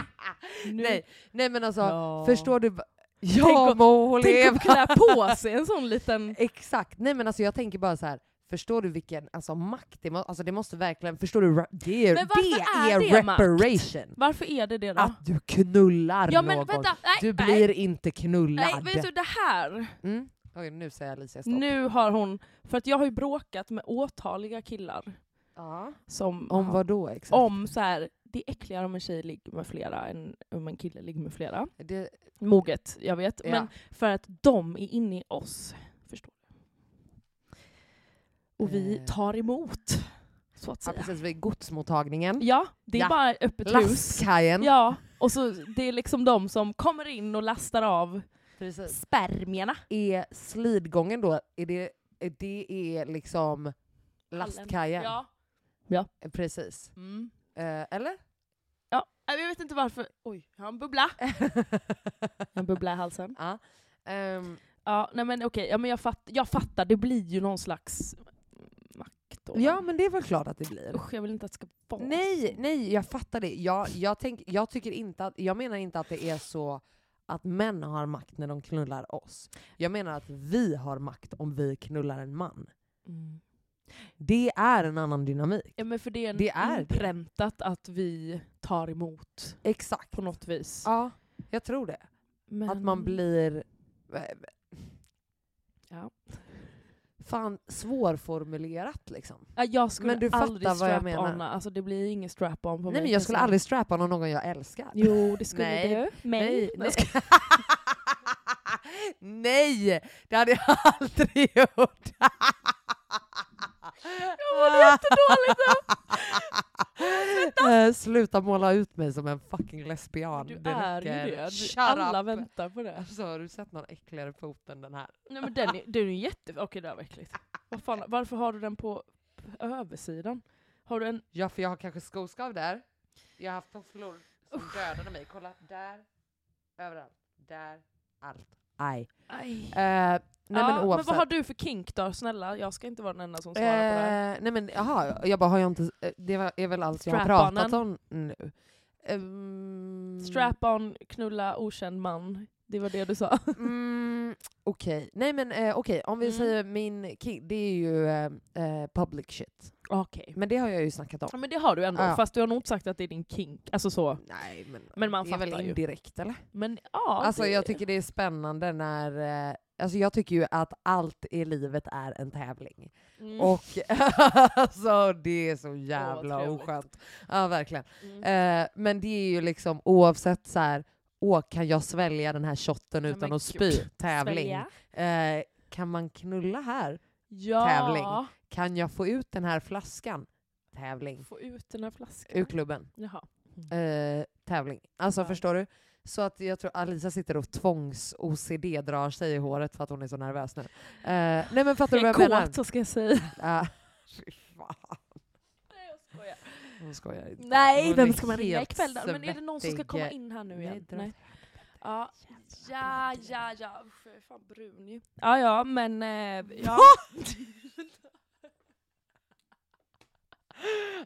C: Nu.
E: Nej, nej men alltså,
C: Ja.
E: förstår du? va-
C: Tänk
E: Ja
C: att-
E: må hon
C: Tänk
E: leva!
C: att klä på sig en sån liten...
E: Exakt, nej men alltså jag tänker bara så här. Förstår du vilken alltså, makt det måste... Alltså det måste verkligen... Förstår du? ra- Det är,
C: Men varför
E: det
C: är
E: är,
C: det makt?
E: reparation.
C: Varför är det det då?
E: Att du knullar
C: ja
E: någon.
C: men vänta, nej,
E: du
C: nej,
E: blir inte knullad.
C: nej, vet du det här?
E: Mm. Oj, nu säger Alicia stopp.
C: Nu har hon, för att jag har ju bråkat med åtaliga killar
E: Ja.
C: som
E: Om
C: har-
E: vad då exakt?
C: om så här, det är äckligare om en tjej ligger med flera än om en kille ligger med flera.
E: Det,
C: Moget, jag vet.
E: Ja.
C: Men för att de är inne i oss. Förstår du? Och vi
E: Eh.
C: tar emot, så att
E: ja,
C: säga.
E: precis, vid godsmottagningen.
C: Ja, det är
E: Ja.
C: bara öppet hus.
E: Lastkajen.
C: Ja, och så det är liksom de som kommer in och lastar av
E: Precis.
C: spermierna.
E: Är slidgången då, är det, är det är liksom lastkajen?
C: Ja.
E: Precis.
C: Mm.
E: Eh, eller?
C: ja. Nej, Jag vet inte varför. Oj, jag har en bubbla. En bubbla i halsen.
E: ja. Ehm,
C: Ja, nej men okej. Ja, men jag, fatt, jag fattar, det blir ju någon slags makt då.
E: ja men det är väl klart att det blir.
C: Usch, jag vill inte att det ska vara
E: Nej, nej, jag fattar det. Jag, jag, tänk, jag, tycker inte att, jag menar inte att det är så att män har makt när de knullar oss. Jag menar att vi har makt om vi knullar en man.
C: Mm.
E: Det är en annan dynamik.
C: Ja, men för det är,
E: Det är det.
C: inpräntat att vi tar emot
E: Exakt.
C: på något Mm. vis.
E: Ja, jag tror det.
C: Men-
E: Att man blir... eh,
C: Ja.
E: Fan, svårformulerat liksom.
C: Ja, Jag skulle
E: Men du fattar
C: aldrig
E: vad jag
C: strap-ona.
E: menar.
C: Alltså det blir ingen strap-on på mig.
E: Nej men
C: kan
E: jag skulle
C: säga.
E: aldrig strappa någon, någon jag älskar.
C: Jo, det skulle
E: Nej.
C: du. Mig.
E: Nej, nej.
C: Jag ska-
E: Nej, det hade jag aldrig gjort.
C: Jag mådde jättedåligt
E: Eh, sluta måla ut mig som en fucking lesbian.
C: Du är ju
E: räcker.
C: det.
E: Shut
C: Du, alla
E: up.
C: väntar på det.
E: Alltså, har du sett någon äckligare fot än den här?
C: Nej men den är, den är jätte... Okej, det där var äckligt. Vad fan, varför har du den på på översidan? Har du en...
E: Ja, för jag har kanske skoskav där. Jag har haft tofflor som dödade mig. Kolla, där, överallt, där, allt. Aj.
C: Aj.
E: Eh, nej
C: ja,
E: men oavsett.
C: vad har du för kink då? Snälla, jag ska inte vara den enda som svarar på det här.
E: Eh, nej men jaha, jag bara har jag inte, eh, det var- är väl allt jag har pratat om nu. Ehm,
C: Strap-on, knulla okänd man. Det var det du sa.
E: Mm, okej, nej men eh, okej, om vi
C: Mm.
E: säger min king, det är ju eh, eh, public shit.
C: Okej.
E: Men det har jag ju snackat om.
C: Ja, men det har du ändå,
E: Ja.
C: fast du har nog inte sagt att det är din kink. Alltså så.
E: Nej men,
C: Men man
E: det är väl
C: fattar ju.
E: indirekt eller?
C: Men ja.
E: alltså
C: det...
E: jag tycker det är spännande när, eh, alltså jag tycker ju att allt i livet är en tävling.
C: Mm.
E: Och alltså det är så jävla
C: trevligt.
E: oskönt. Ja verkligen.
C: Mm.
E: Eh, men det är ju liksom oavsett så här, åh kan jag svälja den här shotten
C: Ja,
E: utan
C: men
E: att spy?
C: gud.
E: Tävling.
C: Svälja.
E: Eh, kan man knulla här?
C: Ja.
E: Tävling. Kan jag få ut den här flaskan? Tävling.
C: Få ut den här flaskan.
E: Ur klubben.
C: Jaha.
E: Eh, tävling. Alltså
C: Ja.
E: förstår du? Så att jag tror Alisa sitter och tvångs-OCD drar sig i håret för att hon är så nervös nu. Eh, nej men fattar du
C: Jag är
E: vad jag menar?
C: kåt så ska jag säga.
E: Ja. Fy fan,
C: Nej, jag skojar.
E: hon skojar inte.
C: Nej,
E: Hon är
C: vem ska man ringa
E: helt
C: ikväll då? Men är det någon som ska
E: svettig.
C: komma in här nu
E: Nej,
C: igen?
E: dra åt
C: Nej. Ja, ja, ja, ja. Usch, jag är fan brun ju. Ja, ja, men... Eh, ja.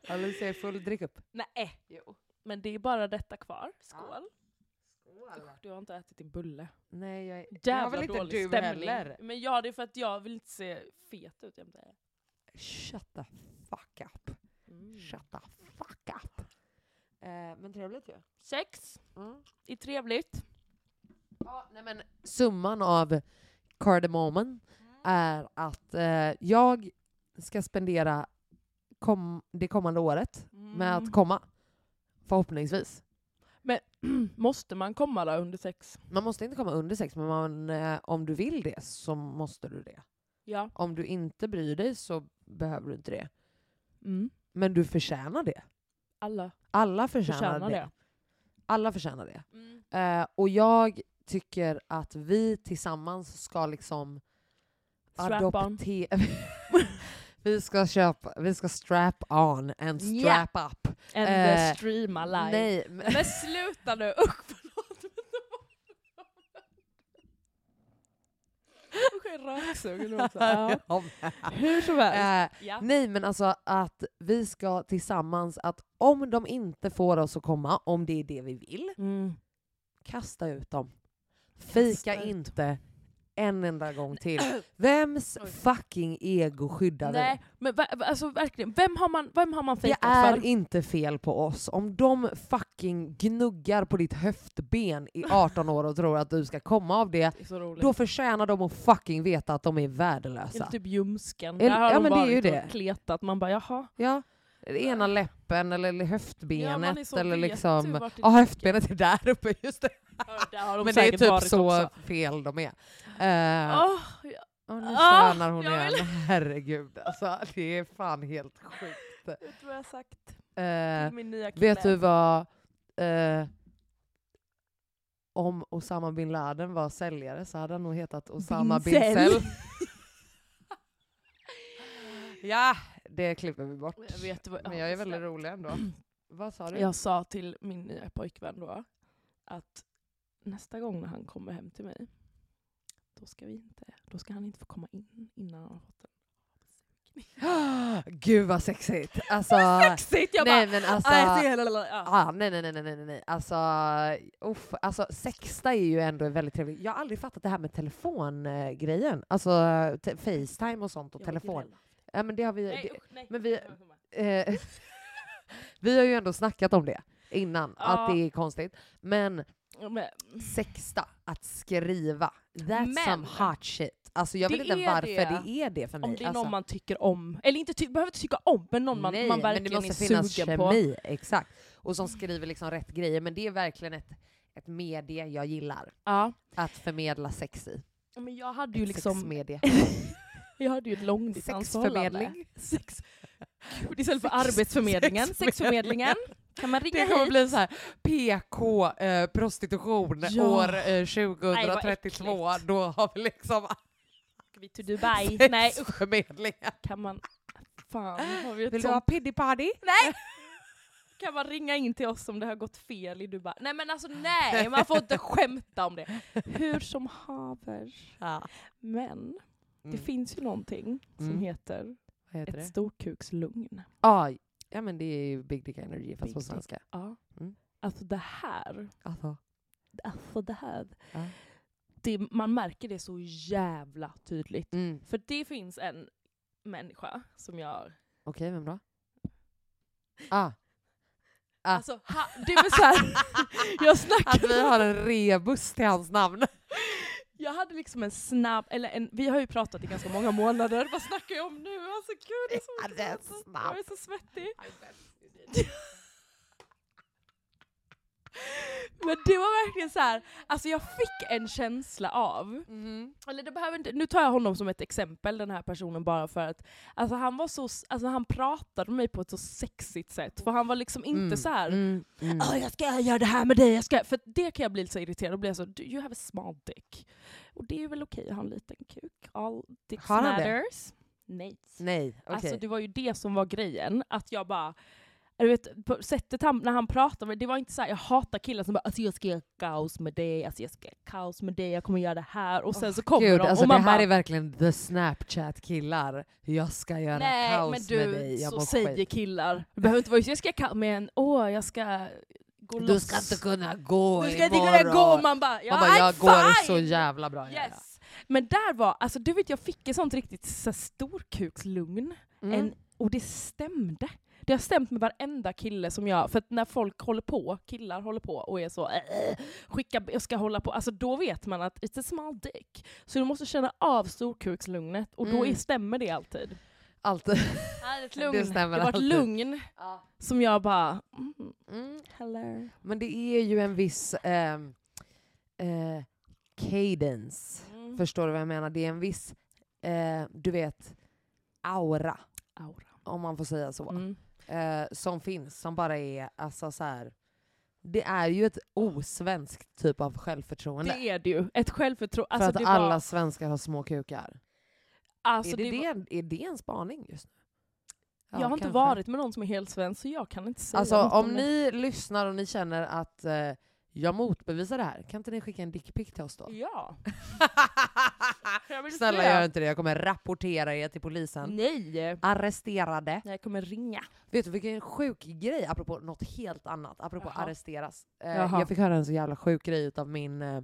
E: Alicia är full, drick upp.
C: Nej. Jo. Men det är bara detta kvar. Skål. Usch, du har inte ätit din bulle.
E: Nej, jag, är- det har
C: Jävla
E: väl inte
C: dålig
E: du
C: stämning.
E: heller?
C: Men ja, det är för att jag vill inte se fet ut jämt.
E: Shut the fuck up.
C: Mm.
E: Shut the fuck up. Eh, men trevligt ju.
C: Sex
E: Mm.
C: är trevligt.
E: Ja, nej men, summan av cardamommen
C: Mm.
E: är att eh, jag ska spendera kom, det kommande året
C: Mm.
E: med att komma. Förhoppningsvis.
C: Måste man komma då under sex?
E: Man måste inte komma under sex, men man, eh, om du vill det så måste du det.
C: Ja.
E: Om du inte bryr dig så behöver du inte det.
C: Mm.
E: Men du förtjänar det.
C: Alla
E: Alla förtjänar,
C: förtjänar
E: det.
C: det.
E: Alla förtjänar det.
C: Mm.
E: Eh, och jag tycker att vi tillsammans ska liksom
C: Strap on.
E: adoptera... vi ska köpa, vi ska strap on and
C: Ja.
E: strap up.
C: And
E: Eh,
C: eh, streama live.
E: Nej, men,
C: Men sluta nu! Usch förlåt! men det var- Usch jag är röksugen nu också. Ja.
E: Ja.
C: Hur som helst.
E: Eh,
C: Ja. Mm.
E: nej men alltså att vi ska tillsammans, att om de inte får oss att komma, om det är det vi vill,
C: Mm.
E: kasta ut dem. Fika
C: ut dem.
E: inte en enda gång till. Vems
C: Oj.
E: fucking ego skyddar vi?
C: Nej, men va- va- alltså verkligen. Vem har man, vem har man
E: Det
C: fejkat
E: är
C: för?
E: inte fel på oss. Om de fucking gnuggar på ditt höftben i 18 år och tror att du ska komma av det,
C: Det är så roligt.
E: då förtjänar de att fucking veta att de är
C: Eller
E: värdelösa.
C: typ ljumsken.
E: Eller-
C: Där har
E: ja,
C: de
E: men det är
C: varit
E: ju det.
C: och kletat. Man bara jaha.
E: Ja. Ena läppen eller höftbenet eller
C: vet du
E: liksom...
C: vart det
E: Ja,
C: ligger.
E: höftbenet är där uppe, just det.
C: Ja, Där har de
E: Men det är
C: säkert
E: typ
C: varit
E: så
C: också.
E: fel de är. Eh,
C: Åh,
E: och nu
C: ah,
E: tränar hon
C: jag
E: igen.
C: vill-
E: Herregud, alltså, det är fan helt sjukt.
C: jag tror jag har sagt
E: Eh,
C: till min nya kille.
E: Vet du vad... Eh, om Osama bin Laden var säljare så hade han nog hetat Osama bin,
C: Bin Sell.
E: Sell. ja, det klipper vi bort.
C: Jag vet du vad-
E: Men
C: ja,
E: jag är
C: just
E: väldigt
C: det.
E: rolig ändå. Vad sa du?
C: Jag sa till min nya pojkvän då att nästa gång när han kommer hem till mig, då ska, vi inte, då ska han inte få komma in innan han har fått en avsugning.
E: Gud vad sexigt! Alltså,
C: Sexigt! Jag
E: nej
C: bara...
E: men
C: "Ah, jag
E: alltså...
C: ser- lalala." Ja.
E: Ah, nej nej nej nej nej nej. Alltså, uff, alltså sexta är ju ändå väldigt trevligt. Jag har aldrig fattat det här med telefongrejen. Alltså te- Facetime och sånt och
C: Jag var
E: telefon.
C: gräll.
E: Ja, men det har vi,
C: Nej,
E: det,
C: usch, nej.
E: men vi- Eh, vi har ju ändå snackat om det innan,
C: Ja.
E: att det är konstigt. Men
C: Men,
E: sexta, att skriva, that's
C: Men-
E: some hot shit. Alltså jag vet
C: Det
E: inte
C: är
E: varför det.
C: det.
E: är det för mig.
C: om det är
E: alltså,
C: någon man tycker om, eller inte ty- behöver inte tycka om, men någon man,
E: nej,
C: man
E: men
C: verkligen
E: det måste
C: är
E: finnas
C: sugen på.
E: kemi, exakt. Och som skriver liksom rätt grejer, men det är verkligen ett, ett medie jag gillar.
C: Ja.
E: Att förmedla sex i.
C: Men jag hade ju
E: Ett
C: liksom
E: Sexmedie.
C: Jag hade ju ett långdistansförhållande.
E: Sexförmedling.
C: Sex. Gud, istället för
E: Sex-
C: arbetsförmedlingen, sexförmedlingen. Kan man ringa
E: Det kommer
C: hit?
E: bli så här PK eh, prostitution
C: Ja.
E: år eh, 2032.
C: Nej, vad äckligt.
E: Då har vi liksom
C: Åker vi till Dubai? Nej usch,
E: sexförmedlingen.
C: kan man... Fan, har vi ett
E: Vill du ha
C: sånt?
E: piddy party?
C: Nej! Kan man ringa in till oss om det har gått fel i Dubai? Nej men alltså nej, man får inte skämta om det. Hur som haver.
E: Ja.
C: Men det
E: Mm.
C: finns ju någonting som
E: Mm.
C: heter
E: Vad heter
C: ett
E: det?
C: storkukslugn.
E: Ah, ja men det är ju Big Dick Energy fast
C: Big
E: på
C: Dick.
E: svenska.
C: Ja.
E: Mm.
C: Alltså det här,
E: Alltså.
C: alltså det här.
E: Ja.
C: Det, man märker det så jävla tydligt.
E: Mm.
C: För det finns en människa som jag...
E: Okej, vem då? Ah. Ah.
C: Alltså, ha, det är väl så här, jag
E: Att vi
C: snackade...
E: har en rebus till hans namn.
C: Jag hade liksom en snabb... Eller en, vi har ju pratat i ganska många månader. Vad snackar jag om nu? Alltså gud, det är så
E: Ja,
C: mycket
E: det är
C: som-
E: snabbt.
C: Jag är så svettig. Men det var verkligen så här, alltså jag fick en känsla av
E: Mm.
C: Eller det behöver inte, nu tar jag honom som ett exempel, den här personen, bara för att alltså han, var så, alltså han pratade med mig på ett så sexigt sätt. För han var liksom inte
E: Mm,
C: så här.
E: Mm. Mm.
C: "Åh, Ah, jag ska göra det här med dig, jag ska... För det kan jag bli lite så irriterad och bli så "Do you have a small dick. Och det är väl okej att ha en liten kuk. All dicks
E: Har han det?
C: matters. Nej.
E: Nej, okej.
C: Alltså det var ju det som var grejen, att jag bara du vet, på sättet han, när han pratade, med- det var inte så här, jag hatar killar som bara alltså jag ska göra kaos med dig, alltså jag ska göra kaos med dig, jag kommer göra det här och sen så kommer
E: Gud,
C: de
E: alltså
C: och
E: det
C: man
E: här
C: bara
E: är verkligen the Snapchat-killar. Jag ska göra
C: nej
E: kaos
C: men du,
E: med dig, jag
C: så
E: mår
C: säger
E: skit.
C: killar. Det behöver inte vara just jag ska kaos, men åh jag ska gå
E: Du
C: loss.
E: ska inte kunna gå
C: du ska inte
E: imorgon.
C: kunna gå, man bara ja,
E: Man bara, jag
C: I'm
E: går
C: fine!
E: så jävla bra. ja, ja.
C: Yes. Men där var, alltså du vet jag fick ett sånt riktigt så här storkukslugn.
E: Mm.
C: En, och det stämde. Det har stämt med varenda kille som jag, för att när folk håller på, killar håller på och är så äh, äh, skicka, jag ska hålla på, alltså då vet man att it's a small dick. Så du måste känna av storkukslugnet och då
E: Mm.
C: är, stämmer det alltid.
E: Allt.
C: ett
E: lugn. Det stämmer
C: det var ett
E: alltid.
C: lugn som jag bara, mm,
E: Mm.
C: hello.
E: Men det är ju en viss ehm, eh, cadence.
C: Mm.
E: Förstår du vad jag menar? Det är en viss, eh, du vet, aura.
C: Aura.
E: Om man får säga så.
C: Mm.
E: Eh, som finns, som bara är alltså så här. Det är ju ett osvenskt typ av självförtroende.
C: Det är det ju, ett självförtroende.
E: för
C: Alltså,
E: att
C: det
E: alla
C: var,
E: svenskar har små kukar.
C: alltså,
E: är, det
C: det var-
E: det, är det en spaning just nu? Ja,
C: jag har inte
E: kanske.
C: varit med någon som är helt svensk så jag kan inte säga
E: Alltså
C: något
E: om
C: det.
E: ni lyssnar och ni känner att eh, jag motbevisar det här, kan inte ni skicka en dickpic till oss då?
C: Ja. Jag vill
E: Snälla
C: se. Mm.
E: gör inte det, jag kommer rapportera er till polisen.
C: Nej!
E: Arresterade.
C: Jag kommer ringa.
E: Vet du vilken sjuk grej, apropå något helt annat, apropå
C: Jaha.
E: arresteras. Eh,
C: Jaha.
E: jag fick höra en så jävla sjuk grej utav min, eh,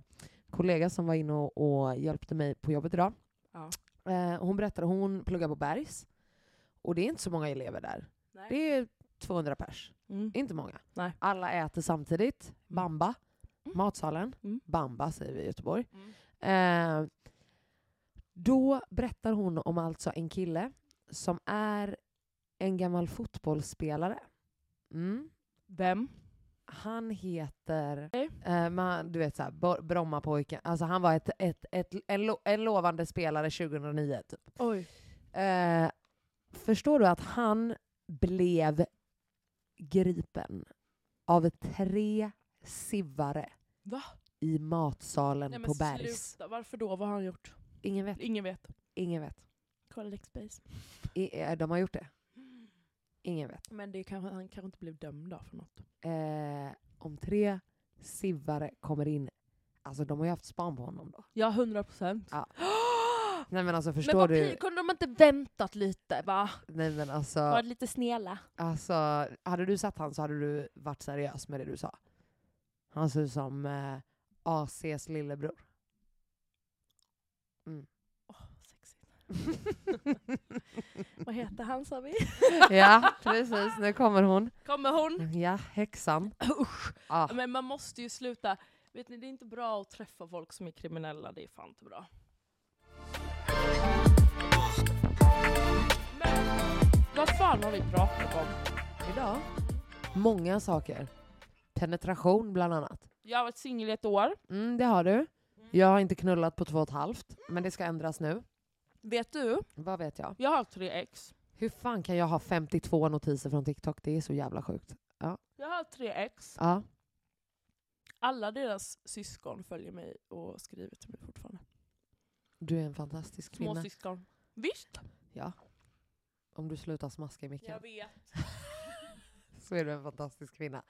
E: kollega som var inne och, och hjälpte mig på jobbet idag.
C: Ja.
E: Eh, hon berättade hon pluggar på Bergs. Och det är inte så många elever där.
C: Nej.
E: Det är 200 pers.
C: Mm.
E: Inte många.
C: Nej.
E: Alla äter samtidigt. Bamba.
C: Mm.
E: Matsalen.
C: Mm.
E: Bamba säger vi i Göteborg.
C: Mm.
E: Eh, då berättar hon om alltså en kille som är en gammal fotbollsspelare. Mm.
C: Vem?
E: Han heter...
C: Okej.
E: Eh, man, du vet såhär, Br- Brommapojken. Alltså han var ett, ett, ett, en, lo, en lovande spelare 2009 typ.
C: Oj.
E: Eh, förstår du att han blev gripen av tre sivare
C: Va?
E: i matsalen
C: Nej, men
E: på Bergs?
C: sluta. Varför då? Vad har han gjort?
E: Ingen vet.
C: Ingen vet.
E: Ingen vet.
C: Correct space.
E: I, eh, de har gjort det. Ingen vet.
C: Men det kanske, han kanske inte blev dömd då för något.
E: Eh, om tre sivare kommer in, alltså de har ju haft span på honom då.
C: Ja, 100 procent.
E: Ja. Nej men alltså
C: Ah! men
E: förstår
C: vad
E: du?
C: pin- kunde de inte väntat lite va?
E: Nej men alltså,
C: Varit lite snälla.
E: alltså, hade du sett han så hade du varit seriös med det du sa. Han ser ut som eh, ACs lillebror.
C: Åh, sexigt. Vad heter han sa vi?
E: ja, precis. Nu kommer hon.
C: Kommer hon?
E: Ja, häxan.
C: Usch.
E: Ah,
C: Men man måste ju sluta. Vet ni, det är inte bra att träffa folk som är kriminella. Det är fan inte bra. Men vad fan har vi pratat om?
E: idag. Många saker. Penetration bland annat.
C: Jag har varit singel i ett år.
E: Mm, det har du. Jag har inte knullat på två och ett halvt, men det ska ändras nu.
C: Vet du?
E: Vad vet jag?
C: Jag har tre ex.
E: Hur fan kan jag ha 52 notiser från TikTok? Det är så jävla sjukt.
C: Jag har tre ex.
E: Ja.
C: Alla deras syskon följer mig och skriver till mig fortfarande.
E: Du är en fantastisk kvinna.
C: Småsyskon. Visst?
E: Om du slutar smaska i micken
C: vet.
E: så är du en fantastisk kvinna.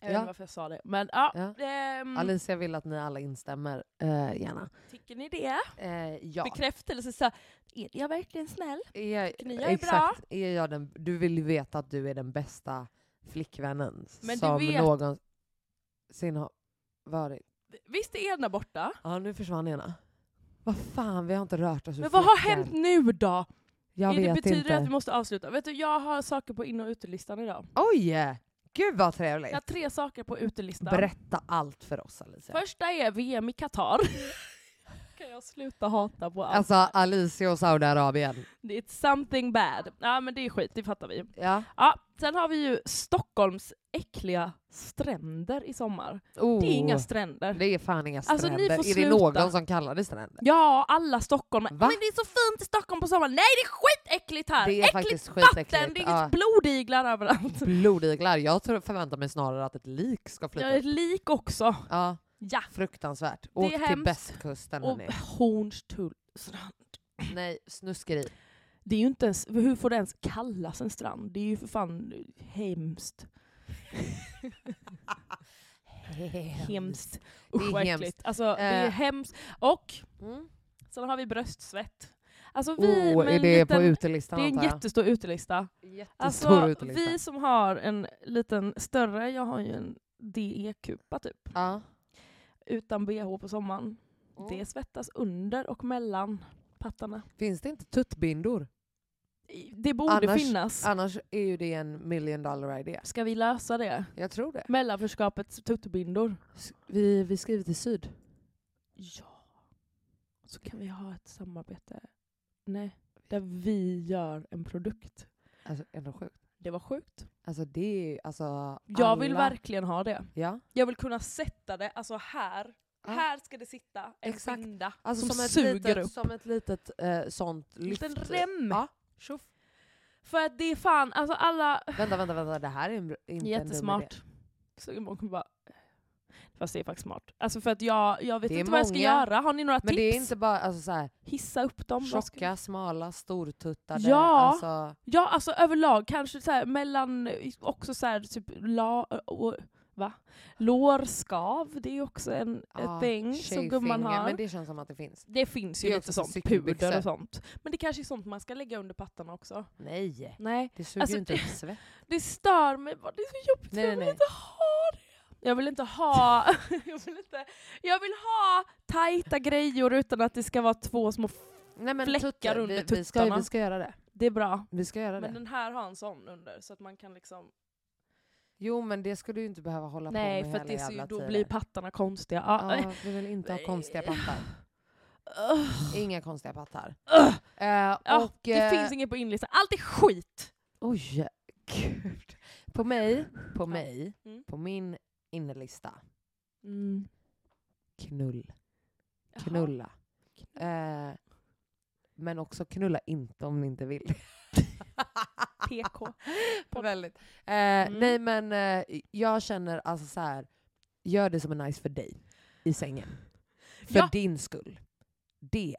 C: Jag vet
E: Ja.
C: inte varför jag sa det. Men ja.
E: Ja.
C: ehm,
E: Alicia vill att ni alla instämmer, eh, gärna.
C: Tycker ni det?
E: Eh, ja.
C: Bekräftelse. Så, här, är jag verkligen snäll?
E: Är,
C: Tycker ni jag är
E: exakt, Är jag den, du vill ju veta att du är den bästa flickvännen
C: Men du
E: som
C: vet-
E: någonsin har varit.
C: Visst är ena borta?
E: Ja, nu försvann ena. Vad fan, vi har inte rört oss ur
C: Men vad har
E: fläcken.
C: hänt nu då?
E: Jag
C: Är det
E: vet
C: betyder
E: inte.
C: det att vi måste avsluta? Vet du, jag har saker på in och utelistan idag.
E: Oj! Gud vad trevligt.
C: Jag har tre saker på utelistan.
E: Berätta allt för oss Alicia.
C: Första är VM i Qatar. kan jag sluta hata på allt?
E: Alltså Alicia och Saudiarabien.
C: Det är ett something bad. Ja men det är skit, det fattar vi.
E: Ja.
C: Ja, sen har vi ju Stockholms äckliga stränder i sommar.
E: Oh.
C: Det är inga stränder.
E: Det är fan inga
C: Alltså,
E: stränder.
C: ni får
E: är det
C: sluta.
E: någon som kallar det stränder?
C: Ja, alla stockholmare.
E: Va?
C: Men det är så fint i Stockholm på sommaren. Nej det är skitäckligt här!
E: Det är
C: Äckligt
E: faktiskt
C: vatten,
E: skitäckligt,
C: det är typ
E: ja.
C: blodiglar överallt.
E: Blodiglar. Jag tror, förväntar mig snarare att ett lik ska
C: Jag
E: flyta
C: är
E: upp.
C: lik också.
E: Ja,
C: Ja.
E: fruktansvärt.
C: är
E: Åk till
C: hemskt.
E: bästkusten
C: Och
E: hörni.
C: Hornstull.
E: Nej, snuskeri.
C: Det är ju inte ens, hur får det ens kallas en strand? Det är ju för fan hemskt. Hemskt.
E: Det
C: Usch
E: är
C: vad
E: hemskt.
C: äckligt. Alltså det är
E: Eh.
C: hemskt. Och
E: Mm.
C: sen har vi bröstsvett. Alltså vi
E: Oh,
C: med
E: är
C: en
E: det på
C: liten-
E: utelistan
C: det är en
E: antar jag?
C: jättestor utelista.
E: Jättestor
C: Alltså
E: utelista.
C: vi som har en liten större, jag har ju en DE-kupa typ.
E: Ja.
C: Utan bh på sommaren.
E: Mm.
C: Det svettas under och mellan pattarna.
E: Finns det inte tuttbindor?
C: Det borde
E: Annars-
C: finnas.
E: Annars är ju det en million dollar idé.
C: Ska vi lösa det?
E: Jag tror det.
C: Mellanförskapets tuttbindor.
E: S- Vi, vi skriver till syd.
C: Ja. Så kan vi ha ett samarbete. Nej. Där vi gör en produkt.
E: Alltså ändå sjukt.
C: Det var sjukt.
E: Alltså det är ju alltså...
C: Jag vill
E: alla-
C: verkligen ha det.
E: Ja.
C: Jag vill kunna sätta det, alltså här.
E: Ja.
C: Här ska det sitta en
E: Exakt.
C: binda
E: Alltså,
C: som,
E: som, ett
C: suger
E: litet,
C: upp.
E: Som ett litet eh, sånt
C: En
E: lyft.
C: liten rem.
E: Ja.
C: För att det är fan, alltså alla...
E: Vänta, vänta, vänta. Det här är en, br- inte en dum
C: Jättesmart. Så man kan bara... Fast det är faktiskt smart. Alltså för att jag, jag vet
E: Det är
C: inte vad jag ska
E: många,
C: göra. Har ni några
E: idé. Men
C: tips?
E: det är inte bara alltså, så här,
C: Hissa upp dem. Vad ska-
E: tjocka, smala, stortuttade.
C: Ja.
E: Alltså,
C: Ja, alltså överlag kanske så här, mellan också så här, typ la, och, va? lårskav, det är ju också en
E: ja,
C: a thing som
E: tjejfinger,
C: gumman har.
E: Men
C: det,
E: det känns som att det finns.
C: finns
E: det
C: ju
E: är
C: lite
E: också
C: sånt,
E: cykelbyxor.
C: puder och sånt. Men det kanske är sånt man ska lägga under pattarna också.
E: Nej.
C: Nej,
E: Det suger
C: Alltså,
E: ju inte upp svett.
C: det stör mig bara. Det är så jobbigt,
E: Nej,
C: jag
E: nej,
C: vill
E: nej.
C: inte ha det. Jag vill inte ha... jag, vill inte, jag vill ha tajta grejer utan att det ska vara två små... f-
E: Nej, men
C: Fläckar
E: tutte,
C: under
E: vi, vi, ska,
C: tuttarna.
E: vi ska göra det.
C: Det är bra.
E: Vi ska göra
C: Men
E: det.
C: den här har en sån under så att man kan liksom...
E: Jo men det ska du ju inte behöva hålla
C: Nej
E: på med
C: för att det
E: hela
C: ser ju,
E: jävla
C: då
E: tiden.
C: blir pattarna konstiga. Ah, nej.
E: Ja, vi vill inte ha konstiga pattar.
C: Ugh.
E: Inga konstiga pattar.
C: Ugh.
E: Eh,
C: Ja,
E: och,
C: ah, det
E: eh,
C: finns inget på inlistan. Allt är skit!
E: Oj, gud. På mig, på mig,
C: Mm.
E: på min innerlista. Knull.
C: Jaha.
E: Knulla. Eh, men också knulla inte om ni inte vill.
C: PK.
E: Väldigt. Eh,
C: Mm.
E: Nej men eh, jag känner alltså så här. gör det som är nice för dig i sängen. För
C: Ja.
E: din skull. Det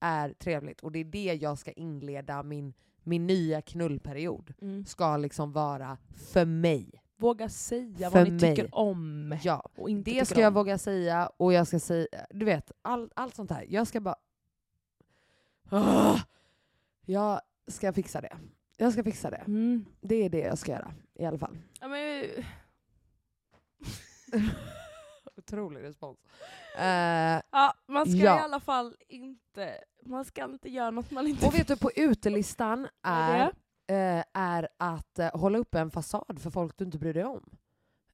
E: är trevligt och det är det jag ska inleda min, min nya knullperiod.
C: Mm.
E: Ska liksom vara för mig.
C: Våga säga
E: För
C: vad ni
E: mig.
C: tycker om.
E: Ja.
C: Och inte tycker
E: Det ska jag
C: om.
E: våga säga och jag ska säga, du vet, all, allt sånt här. Jag ska bara... Ah! Jag ska fixa det. Jag ska fixa det.
C: Mm.
E: Det är det jag ska göra i alla fall.
C: Ja, men,
E: Otrolig respons. Eh,
C: ja, man ska
E: Ja.
C: i alla fall inte... Man ska inte göra något man inte...
E: och vet du, på utelistan
C: Vad
E: är,
C: det?
E: eh, är att eh, hålla upp en fasad för folk du inte bryr dig om.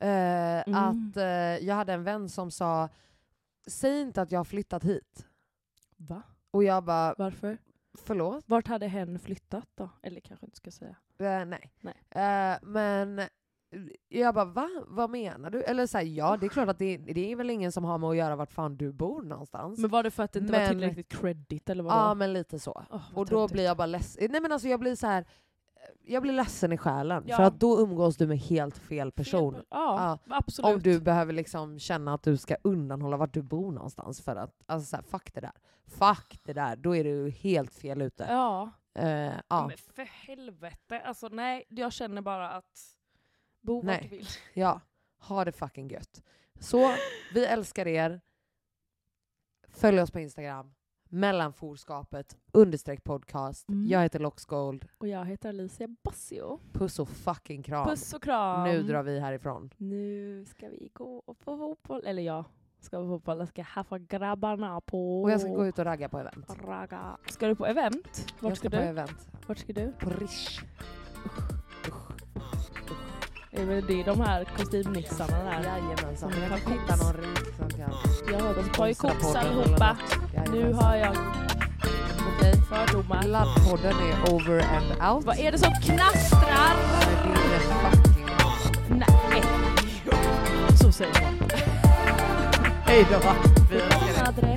E: Eh,
C: Mm.
E: Att eh, Jag hade en vän som sa, säg inte att jag har flyttat hit.
C: Va?
E: Och jag bara,
C: Varför?
E: förlåt?
C: Vart hade hen flyttat då? Eller kanske inte ska säga.
E: Eh, nej.
C: Nej.
E: Eh, men jag bara, va? Vad menar du? Eller så här, ja det är klart att det, det är väl ingen som har med att göra vart fan du bor någonstans.
C: Men var det för att det inte var
E: Men-
C: tillräckligt credit eller
E: ja
C: vad? var?
E: men lite så.
C: Åh, vad
E: Och då
C: töntigt.
E: blir jag bara ledsen. Nej men alltså jag blir så här. eh, jag blir ledsen i själen.
C: Ja.
E: För att då umgås du med helt fel person.
C: Fel- Ja, absolut.
E: Om du behöver liksom känna att du ska undanhålla vart du bor någonstans för att, alltså så här, fuck det där. Fuck det där, då är du helt fel ute. Ja.
C: Ja.
E: ja.
C: Men för helvete. Alltså nej, jag känner bara att... Bo
E: Nej.
C: vart du vill.
E: Ja, ha det fucking gött. Så, vi älskar er. Följ oss på Instagram. Mellanforskapet understreck podcast.
C: Mm.
E: Jag heter Loxgold.
C: Och jag heter Alicia Bassio.
E: Puss och fucking kram.
C: Puss och kram.
E: Nu drar vi härifrån.
C: Nu ska vi gå och på fotboll. Eller jag ska på fotboll. Jag ska haffa grabbarna på...
E: Och jag ska gå ut och ragga på event.
C: Ragga. Ska du på event? Vart
E: jag
C: ska,
E: ska på
C: du?
E: event.
C: Vart ska du?
E: På Rish.
C: Det är väl det är de här kostymnixarna där.
E: Jajamensan.
C: Mm,
E: Jag
C: ta
E: kan hitta
C: koks.
E: någon rik som kan...
C: Ja, de tar ju
E: sponsra
C: koks
E: podden eller
C: allihopa.
E: något.
C: Nu
E: Jajamensan.
C: har jag
E: Okej.
C: fördomar.
E: Laddpodden är over and out.
C: Vad är det som knastrar?
E: Men det är fucking...
C: Nej. Så säger man.
E: Hej då! Vi älskar er.
C: Madre.